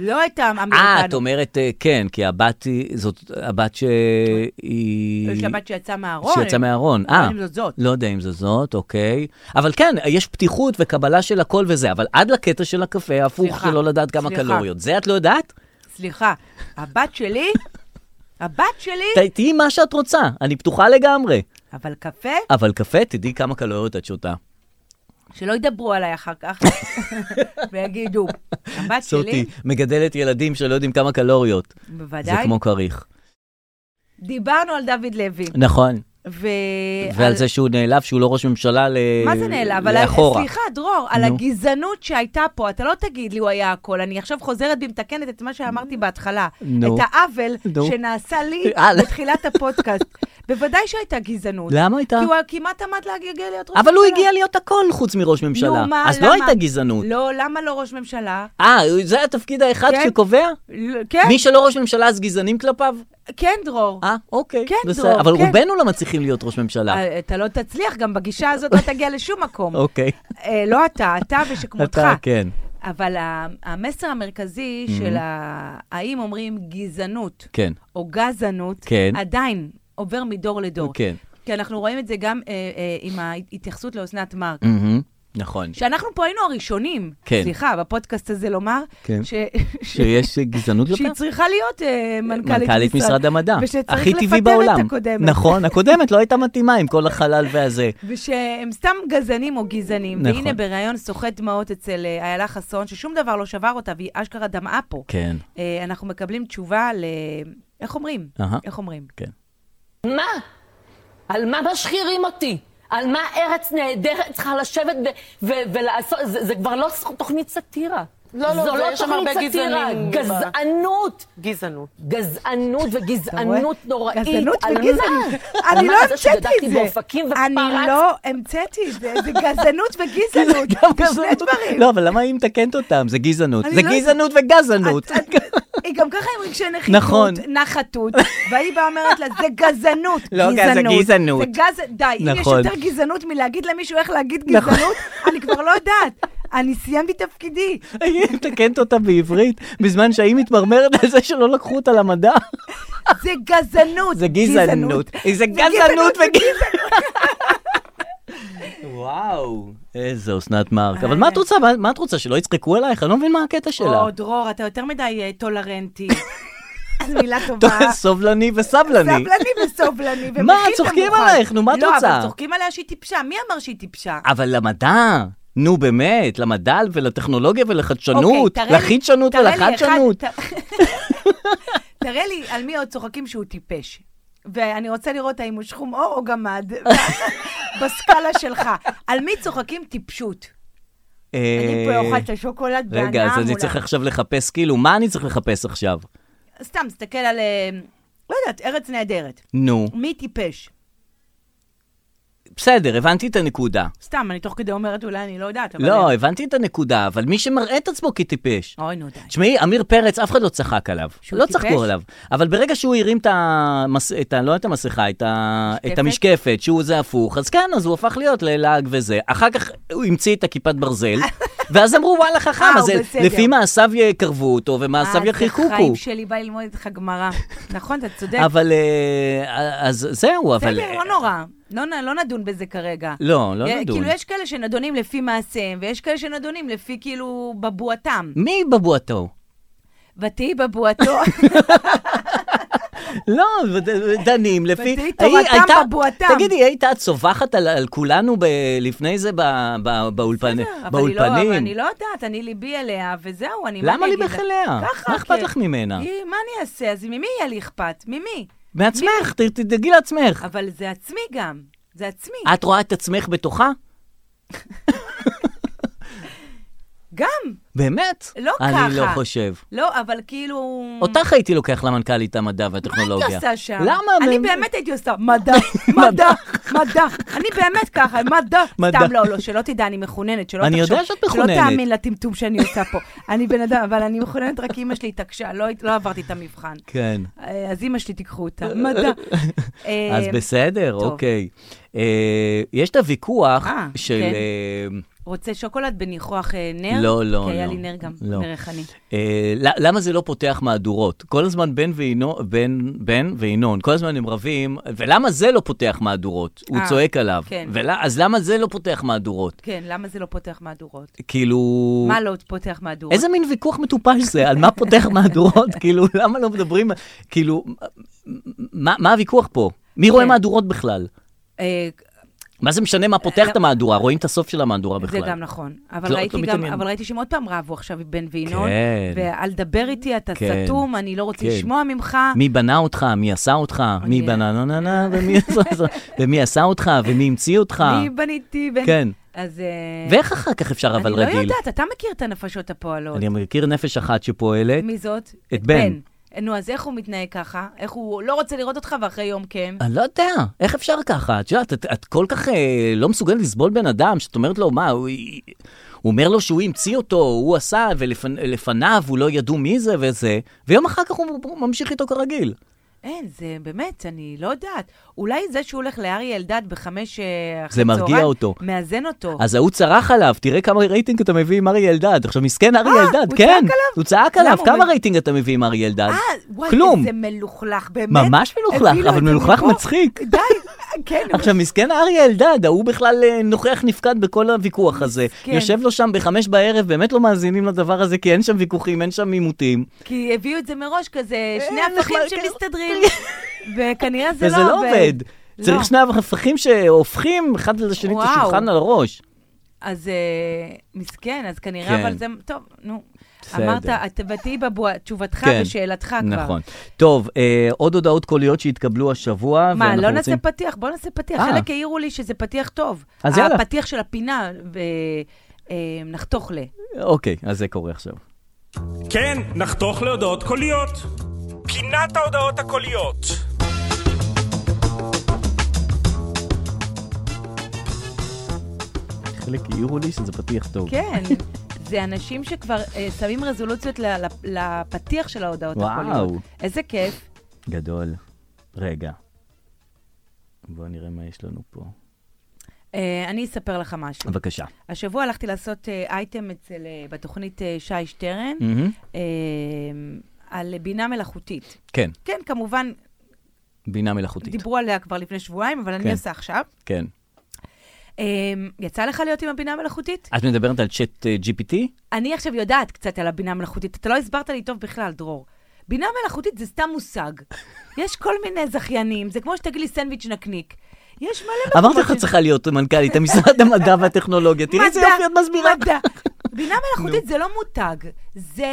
לא את האמריקנו. אה, את אומרת, אה, כן, כי הבת היא, זאת הבת שהיא... יש לה בת שיצאה מהארון. שיצאה מהארון, לא אה. יודעת אם זאת זאת. לא יודע אם זו זאת, אוקיי. אבל כן, יש פתיחות וקבלה של הכל וזה, אבל עד לקטע של הקפה, הפוך סליחה, שלא לדעת כמה סליחה. קלוריות. זה את לא יודעת? סליחה, הבת שלי, הבת שלי, ת- תהיי מה שאת רוצה, אני פתוחה לגמרי. אבל קפה, אבל קפה, תדעי כמה קלוריות את שותה. שלא ידברו עליי אחר כך, ויגידו, הבת סוטי, שלי, מגדלת ילדים שלא יודעים כמה קלוריות. זה בוודאי. כמו כריך. דיברנו על דוד לוי. נכון. ו... ועל זה שהוא נעלב שהוא לא ראש ממשלה ל... אה, מה זה נעלב? על ה- לאחורה. סליחה, דרור, על נו. הגזענות שהייתה פה, אתה לא תגיד לי הוא היה הכל. אני עכשיו חוזרת בי מתקנת את מה שאמרתי בהתחלה. נו. את העוול נו. שנעשה לי אה, לא. בתחילת הפודקאסט. בוודאי שהייתה גזענות. למה הייתה? כי הוא כמעט עמד להגיע להיות ראש ממשלה. אבל הוא הגיע להיות הכל חוץ מראש ממשלה. נו, מה, אז למה? לא הייתה גזענות. לא, למה לא ראש ממשלה? אה, זה התפקיד האחד כן. שקובע? ל- כן, מי שלא ראש ממשלה אז גזענים כלפיו? כן, דרור. אה, אוקיי. כן, בסדר. דרור, אבל כן. רובנו לא מצליחים להיות ראש ממשלה. אה, אתה לא תצליח, גם בגישה הזאת לא תגיע לשום מקום. אוקיי. אה, לא אתה, אתה ושכמותך. אתה, כן. Mm-hmm. אבל ה- המסר המרכזי של ה- האם אומרים גזענות כן. או גזענות, כן. עדיין עובר מדור לדור. כן. כי אנחנו רואים את זה גם אה, אה, עם ההתייחסות לאסנת מארק. מהמם, נכון. שאנחנו פה היינו הראשונים, Mm-hmm. כן. סליחה, בפודקאסט הזה לומר, כן. ש... שיש גזענות שהיא כלפיו? צריכה להיות אה, מנכ"לית, מנכ"לית משרד המדע. ושצריך הכי לפטר טבעי בעולם. את הקודמת. נכון, הקודמת לא הייתה מתאימה עם כל החלל והזה. ושהם סתם גזענים או גזענים. נכון. נכון. והנה בריאיון סוחט דמעות אצל אה, איילה חסון, ששום דבר לא שבר אותה, והיא אשכרה דמעה פה. כן. אה, אנחנו מקבלים תשובה ל... איך אומרים? אהה. איך אומרים? כן. מה? על מה משחירים אותי? על מה ארץ נהדרת צריכה לשבת ו- ו- ולעשות? זה, זה כבר לא ס- תוכנית סאטירה. לא, לא, זו זה- לא יש שם הרבה תוכנית סאטירה, גזענים בה. גזענות. גזענות. גזענות וגזענות אתה רואה? נוראית. גזענות על מה? וגזענות. על אני מה? לא זה המצאתי שגדלתי את זה. באופקים אני ופרצתי. לא המצאתי את זה. זה גזענות כאילו, וגזענות. זה שני דברים. לא, אבל למה היא מתקנת אותם? זה גזענות. אני זה לא- גזענות וגזענות. את- את- היא גם ככה עם רגשי נחיתות, נכון. נחתות, והיא באה אומרת לה, זה גזענות, לא, זה גזענות." זה גז... די, אם יש נכון. יותר גזענות מלהגיד למישהו איך להגיד נכון. גזענות, אני כבר לא יודעת. אני סיימתי תפקידי. היא מתקנת אותה בעברית, בזמן שהיא מתמרמרת על זה שלא לקחו אותה למדע. זה גזענות. זה גזענות. זה גזענות וגזענות. וואו. איזה אסנת מארק. אבל אה. מה את רוצה? מה- מה את רוצה, שלא יצחקו עלייך? אני לא מבין מה הקטע שלה. או, דרור, אתה יותר מדי אה, טולרנטי. אז מילה טוב, טובה. סובלני וסבלני. סבלני וסובלני. מה, ומכיל את צוחקים המוכן. עלייך, נו, מה את לא, רוצה? אבל צוחקים עליה שהיא טיפשה. מי אמר שהיא טיפשה? אבל למדע, נו באמת, למדע ולטכנולוגיה אוקיי, ולחדשנות, תראה לי- לחידשנות תראה לי אחד- ולחדשנות. ת- תראה לי על מי עוד צוחקים שהוא טיפש. ואני רוצה לראות האם הוא שחום אור או גמד, בסקאלה שלך. על מי צוחקים טיפשות? אני פה אוכל את השוקולד והנאה אה, רגע, מולה. אז אני צריך עכשיו לחפש, כאילו, מה אני צריך לחפש עכשיו? סתם, תסתכל על... אה, לא יודעת, ארץ נהדרת. נו, מי טיפש? בסדר, הבנתי את הנקודה. סתם, אני תוך כדי אומרת, אולי אני לא יודעת, אבל... לא, אה, הבנתי את הנקודה, אבל מי שמראה את עצמו כטיפש. אוי, נו די. תשמעי, עמיר פרץ, אף אחד לא צחק עליו. שהוא לא טיפש? צחקו עליו. אבל ברגע שהוא הרים את המס... את ה... לא את המסכה, את, ה... משקפת? את המשקפת, שהוא זה הפוך, אז כן, אז הוא הפך להיות ללעג וזה. אחר כך הוא המציא את הכיפת ברזל, ואז אמרו, וואלה, חכם, אה, אז הוא בסדר. לפי מעשיו יקרבו אותו, ומעשיו אז ירחיקוקו. חיים אה, שלי בא ללמוד איתך גמרא. נכון, אתה צודק. אבל, אה, אז זהו, אבל... אה, בסדר, לא נורא. לא נ- לא נדון בזה כרגע. לא, לא אה, נדון. כאילו, יש כאלה שנדונים לפי מעשיהם, ויש כאלה שנדונים לפי, כאילו, בבועתם. מי בבועתו? ותהי בבועתו, לא, וד- דנים לפי... ותהי היי, תורתם הייתה- בבואתם. תגידי, היית את צווחת על, על כולנו ב, לפני זה ב, ב, באולפני, אבל היא לא- אבל באולפנים? אני לא יודעת, אני ליבי אליה, וזהו, אני... מה למה אני אגיד ליבך לה? אליה? ככה, מה אכפת כן. לך ממנה? היא- מה אני אעשה? אז ממי יהיה לי אכפת? ממי? מעצמך, ת- תדאגי לעצמך. אבל זה עצמי גם. זה עצמי. את רואה את עצמך בתוכה? גם. באמת? לא אני לא ככה. חושב. לא, אבל כאילו... אותך הייתי לוקח למנכ"לית המדע מה והטכנולוגיה. הייתי עושה שם? למה? אני באמת? באמת הייתי עושה מדע, מדע, מדע. אני באמת ככה, מדע. מדע. סתם לא, לא, שלא תדע, אני מחוננת, שלא אני תחשוב. יודע שאת שלא מחוננת. תאמין לטמטום שאני עושה פה. אני בן אדם, אבל אני מחוננת, רק אמא שלי התעקשה, לא הת- לא עברתי את המבחן. כן. אה, אז אמא שלי, תיקחו אותה, מדע. אז אה, בסדר, טוב. אוקיי. אה, יש את הוויכוח אה, של... כן. אה, רוצה שוקולד בניחוח אה, נר? לא, לא, כי היה לא. לי נר גם, לא. נר ריחני. אה, ל- למה זה לא פותח מהדורות? כל הזמן בן וינון, בן, בן וינון, כל הזמן הם רבים, ולמה זה לא פותח מהדורות? הוא אה, צועק עליו. כן. ול, אז למה זה לא פותח מהדורות? כן, למה זה לא פותח מהדורות? כאילו... מה לא פותח מהדורות? איזה מין ויכוח מטופש זה? על מה פותח מהדורות? כאילו, למה לא מדברים? כאילו, מה, מה הוויכוח פה? מי רואה כן. מהדורות בכלל? אה, מה זה משנה מה פותח את המהדורה? רואים את הסוף של המהדורה בכלל. לא. זה גם נכון. אבל, לא- ראיתי לא גם, מתעניין. אבל ראיתי שהם עוד פעם רבו עכשיו עם בן וינון. כן. ואל תדבר איתי, אתה כן. סתום, אני לא רוצה כן. לשמוע ממך. מי בנה אותך, מי עשה אותך, מי אוי, בנה נה נה נה, ומי עשה- ומי עשה אותך, ומי המציא אותך. מי בניתי? בן... אה. כן. אז... אה, ואיך אחר כך אפשר אבל אני לא רגיל? יודעת, אתה מכיר את הנפשות הפועלות. אני מכיר נפש אחת שפועלת. מי זאת? את בן. נו, אז איך הוא מתנהג ככה? איך הוא לא רוצה לראות אותך ואחרי יום כן? אני לא יודע, איך אפשר ככה? את יודעת, את, את כל כך אה, לא מסוגלת לסבול בן אדם, שאת אומרת לו, מה, הוא, הוא אומר לו שהוא המציא אותו, הוא עשה, ולפניו הוא לא ידעו מי זה וזה, ויום אחר כך הוא, הוא ממשיך איתו כרגיל. אין, זה באמת, אני לא יודעת. אולי זה שהוא הולך לאריה אלדד בחמש אה, אחרי זה מרגיע צהריים, אותו. מאזן אותו. אז ההוא צרח עליו, תראה כמה רייטינג אתה מביא עם אריה אלדד. עכשיו, מסכן אריה אה, אלדד, הוא כן. צעק עליו? הוא צעק למה, עליו, הוא כמה מב- רייטינג אתה מביא עם אריה אלדד? אה, וואי, כלום. איזה מלוכלך, באמת. ממש מלוכלך, הביא לו אבל את זה מלוכלך מפה. מצחיק. די, כן, הוא עכשיו, מסכן אריה אלדד, ההוא בכלל אה, נוכח נפקד בכל הוויכוח הזה. מסכן. יושב לו שם בחמש בערב, באמת לא מאזינים לדבר הזה, כי אין שם ויכוחים, אין שם עימותים. כי הביאו את זה מראש, כזה שני נחמד, הפכים כן. שמסתדרים, וכנראה זה לא וזה עובד. לא עובד. לא. צריך שני הפכים שהופכים אחד לשני את וואו. השולחן על הראש. אז אה, מסכן, אז כנראה, כן. אבל זה... טוב, נו. בסדר. אמרת, את ותהיי בבוע... תשובתך כן. ושאלתך כבר. נכון. טוב, אה, עוד הודעות קוליות שהתקבלו השבוע, מה, ואנחנו לא רוצים- נעשה פתיח? בוא נעשה פתיח. אה. חלק העירו לי שזה פתיח טוב. אז יאללה. הפתיח של הפינה, ו... אה, נחתוך ל... אוקיי, אז זה קורה עכשיו. כן, נחתוך להודעות קוליות. פינת ההודעות הקוליות. חלק העירו לי שזה פתיח טוב. כן, זה אנשים שכבר אה, שמים רזולוציות ל- ל- לפתיח של ההודעות וואו. הקוליות. איזה כיף. גדול. רגע. בואו נראה מה יש לנו פה. אה, אני אספר לך משהו. בבקשה. השבוע הלכתי לעשות אה, אייטם אצל, אה, בתוכנית אה, שי שטרן, מהמם. אה, על בינה מלאכותית. כן, כן, כמובן, בינה מלאכותית. דיברו עליה כבר לפני שבועיים, אבל כן. אני עושה עכשיו. כן. אה, יצא לך להיות עם הבינה המלאכותית? את מדברת על צ'אט אה, GPT? אני עכשיו יודעת קצת על הבינה המלאכותית. אתה לא הסברת לי טוב בכלל, דרור. בינה מלאכותית זה סתם מושג. יש כל מיני זכיינים, זה כמו שתגיד לי סנדוויץ' נקניק. יש מלא... אמרת לך מקומות ש- צריכה להיות מנכ"לית המשרד המדע והטכנולוגיה. תראי איזה מדע, יופי את מסבירה. מדע. בינה מלאכותית זה לא מותג, זה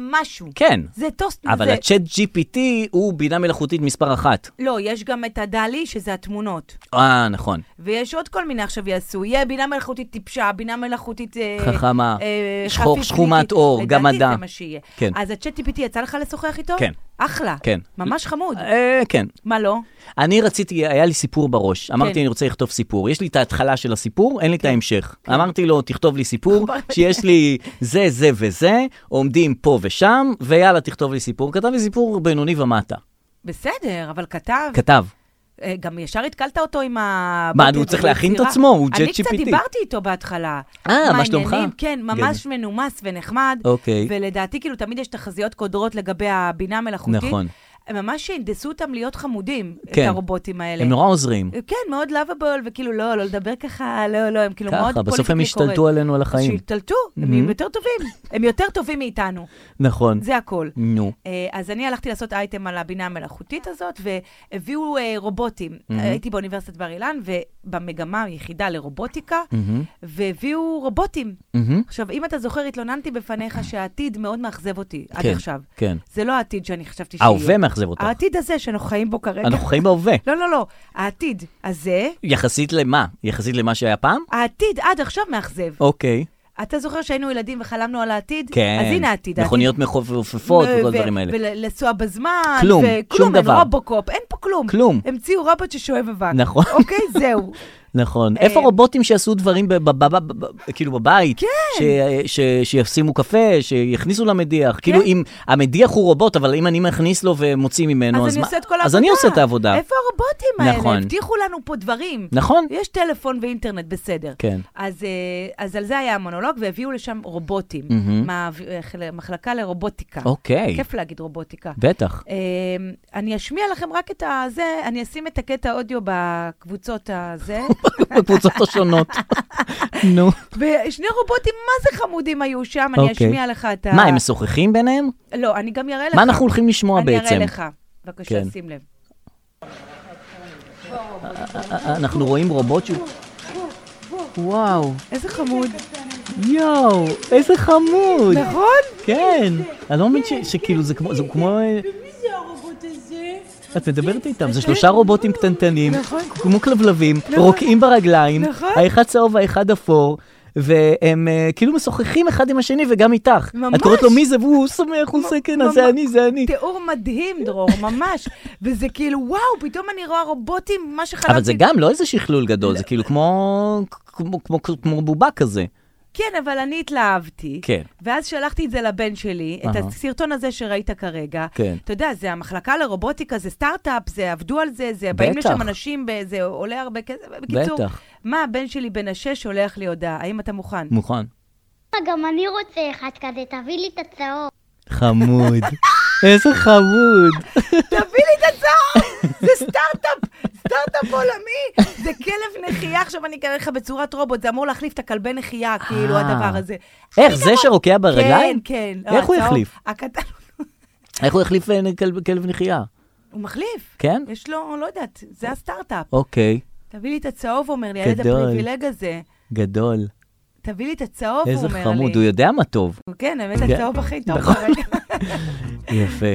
משהו. כן. זה טוסט... אבל זה- הצ'אט GPT הוא בינה מלאכותית מספר אחת. לא, יש גם את הדלי, שזה התמונות. אה, נכון. ויש עוד כל מיני עכשיו יעשו. יהיה בינה מלאכותית טיפשה, בינה מלאכותית... אה, חכמה. אה, שחור- חפיפניקית. שחומת עור, גמדה. לדעתי זה מה שיהיה. כן. אז הצ'אט טיפיטי, יצא לך לשוחח איתו? כן. אחלה. כן. ממש חמוד. אה, כן. מה לא? אני רציתי, היה לי סיפור בראש. אמרתי, כן. אני רוצה לכתוב סיפור. יש לי את ההתחלה של הסיפור, אין לי את ההמשך. אמרתי לו, תכתוב לי סיפור, שיש לי זה, זה וזה, עומדים פה ושם, ויאללה, תכתוב לי סיפור. כתב לי סיפור בינוני ומטה. בסדר, אבל כתב. כתב. אה, גם ישר התקלת אותו עם ה... מה, בוטים הוא צריך והיצירה. להכין את עצמו, הוא אני ChatGPT. קצת דיברתי איתו בהתחלה. אה, מה העניינים? שלומך? כן, ממש מנומס ונחמד. אוקיי. ולדעתי, כאילו, תמיד יש תחזיות קודרות לגבי הבינה המלאכותית. נכון. הם ממש הנדסו אותם להיות חמודים, את כן. הרובוטים האלה. הם נורא עוזרים. כן, מאוד לאביבול, וכאילו, לא, לא לדבר ככה, לא, לא, הם כאילו ככה, מאוד בסוף הם פוליטיקלי השתלטו קורקט. עלינו על אז החיים. Mm-hmm. שהשתלטו, הם יהיו יותר טובים. הם יותר טובים מאיתנו, נכון. זה הכל. נו. אה, אז אני הלכתי לעשות אייטם על הבינה המלאכותית הזאת, והביאו אה, רובוטים. הייתי באוניברסיטת בר אילן, ובמגמה היחידה לרובוטיקה, והביאו רובוטים. עכשיו, אם אתה זוכר, התלוננתי בפניך שהעתיד מאוד מאכזב אותי עד כן, עכשיו. כן. זה לא העתיד שאני חשבתי שיהיה. ההווה מאכזב אותך. העתיד הזה שאנחנו חיים בו כרגע. אנחנו חיים בהווה. לא, לא, לא. העתיד הזה, יחסית למה? יחסית למה שהיה פעם? העתיד עד עכשיו מאכזב. אוקיי. אתה זוכר שהיינו ילדים וחלמנו על העתיד? כן. אז הנה העתיד. מכוניות מחופפות ו- וכל לא, ו- הדברים האלה. ולנסוע בזמן. כלום, שום כלום, אין דבר. רובוקופ, אין פה כלום. כלום. המציאו רובוט ששואב אבק. נכון. אוקיי, זהו. אה. נכון. איפה רובוטים שיעשו דברים ב- ב- ב- ב- ב- כאילו בבית? כן. שישימו קפה, שיכניסו כן. למדיח. כאילו אם המדיח הוא רובוט, אבל אם אני מכניס לו ומוציא ממנו, אז אז אני מה- עושה את כל העבודה. אז אני עושה את העבודה. איפה הרובוטים האלה? נכון. הבטיחו לנו פה דברים. נכון. יש טלפון ואינטרנט, בסדר. כן. אז, אה, אז על זה היה המונולוג, והביאו לשם רובוטים. מה- אה, מחלקה לרובוטיקה. אוקיי. כיף להגיד רובוטיקה. בטח. אמ, אני אשמיע לכם רק את הזה, אני אשים את הקטע אודיו בקבוצות הזה. בקבוצות השונות. נו. ושני רובוטים, מה זה חמודים היו שם, אני אוקיי. אשמיע לך את ה... מה, הם משוחחים ביניהם? לא, אני גם אראה לך. מה אנחנו הולכים לשמוע בעצם? אני אראה לך. בבקשה, כן. שים לב. אנחנו רואים רובוט שהוא... וואו, איזה חמוד. כן, יואו, איזה חמוד. נכון? כן. כן, אני לא מאמין ש- שכאילו זה כמו, זה כמו... אה, את מדברת איתם, כן, זה שלושה רובוטים קטנטנים, כמו כלבלבים, רוקעים ברגליים, נכון. האחד צהוב והאחד אפור, והם אה, כאילו משוחחים אחד עם השני וגם איתך. את ממש. קוראת לו מי זה, והוא שמח, הוא עושה כן, אז זה ממש. אני, זה אני. תיאור מדהים, דרור, ממש. וזה כאילו, וואו, פתאום אני רואה רובוטים, מה שחלמתי. אבל זה גם לא איזה שכלול גדול, זה כאילו כמו כמו- כמו- כמו בובה כזה. כן, אבל אני התלהבתי. כן. ואז שלחתי את זה לבן שלי, את אהה. הסרטון הזה שראית כרגע. כן. אתה יודע, זה המחלקה לרובוטיקה, זה סטארט-אפ, זה עבדו על זה, זה באים בטח. לשם אנשים, ב- זה עולה הרבה כסף. בקיצור, בטח. מה הבן שלי בן השש שולח לי הודעה? האם אתה מוכן? מוכן. גם אני רוצה אחד כזה, תביא לי את הצהוב. חמוד. איזה חמוד. תביא לי את הצהוב! זה סטארט-אפ, סטארט-אפ עולמי! זה כלב נחייה, עכשיו אני אקרא לך בצורת רובוט, זה אמור להחליף את הכלבי נחייה, כאילו, אה. הדבר הזה. איך, זה שרוקע ברגליים? כן, כן. לא, איך הוא הצהוב, יחליף? הקטן, איך הוא החליף אה, כלב- כלב נחייה? הוא מחליף. כן? יש לו, לא יודעת, זה הסטארט-אפ. אוקיי, תביא לי את הצהוב, אומר לי, הילד גדול. הפריבילג הזה. גדול. תביא לי את הצהוב, הוא איזה אומר לי. חמוד, הוא יודע מה טוב. כן, האמת, הצהוב הכי טוב נכון. כרגע. יפה. אה,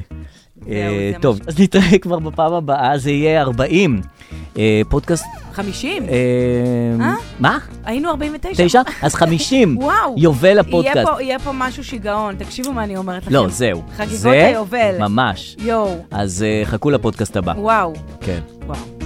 זה מה טוב, אז נתראה כבר בפעם הבאה, זה יהיה 40. אה, פודקאסט... 50? אה, אה? מה? היינו 49. תשע? אז 50. וואו. יובל יהיה הפודקאסט. פה- יהיה פה משהו שיגעון, תקשיבו מה אני אומרת לכם. לא, זהו. חגיגות זה היובל. ממש. יואו, אז אה, חכו לפודקאסט הבא. וואו, כן. וואו.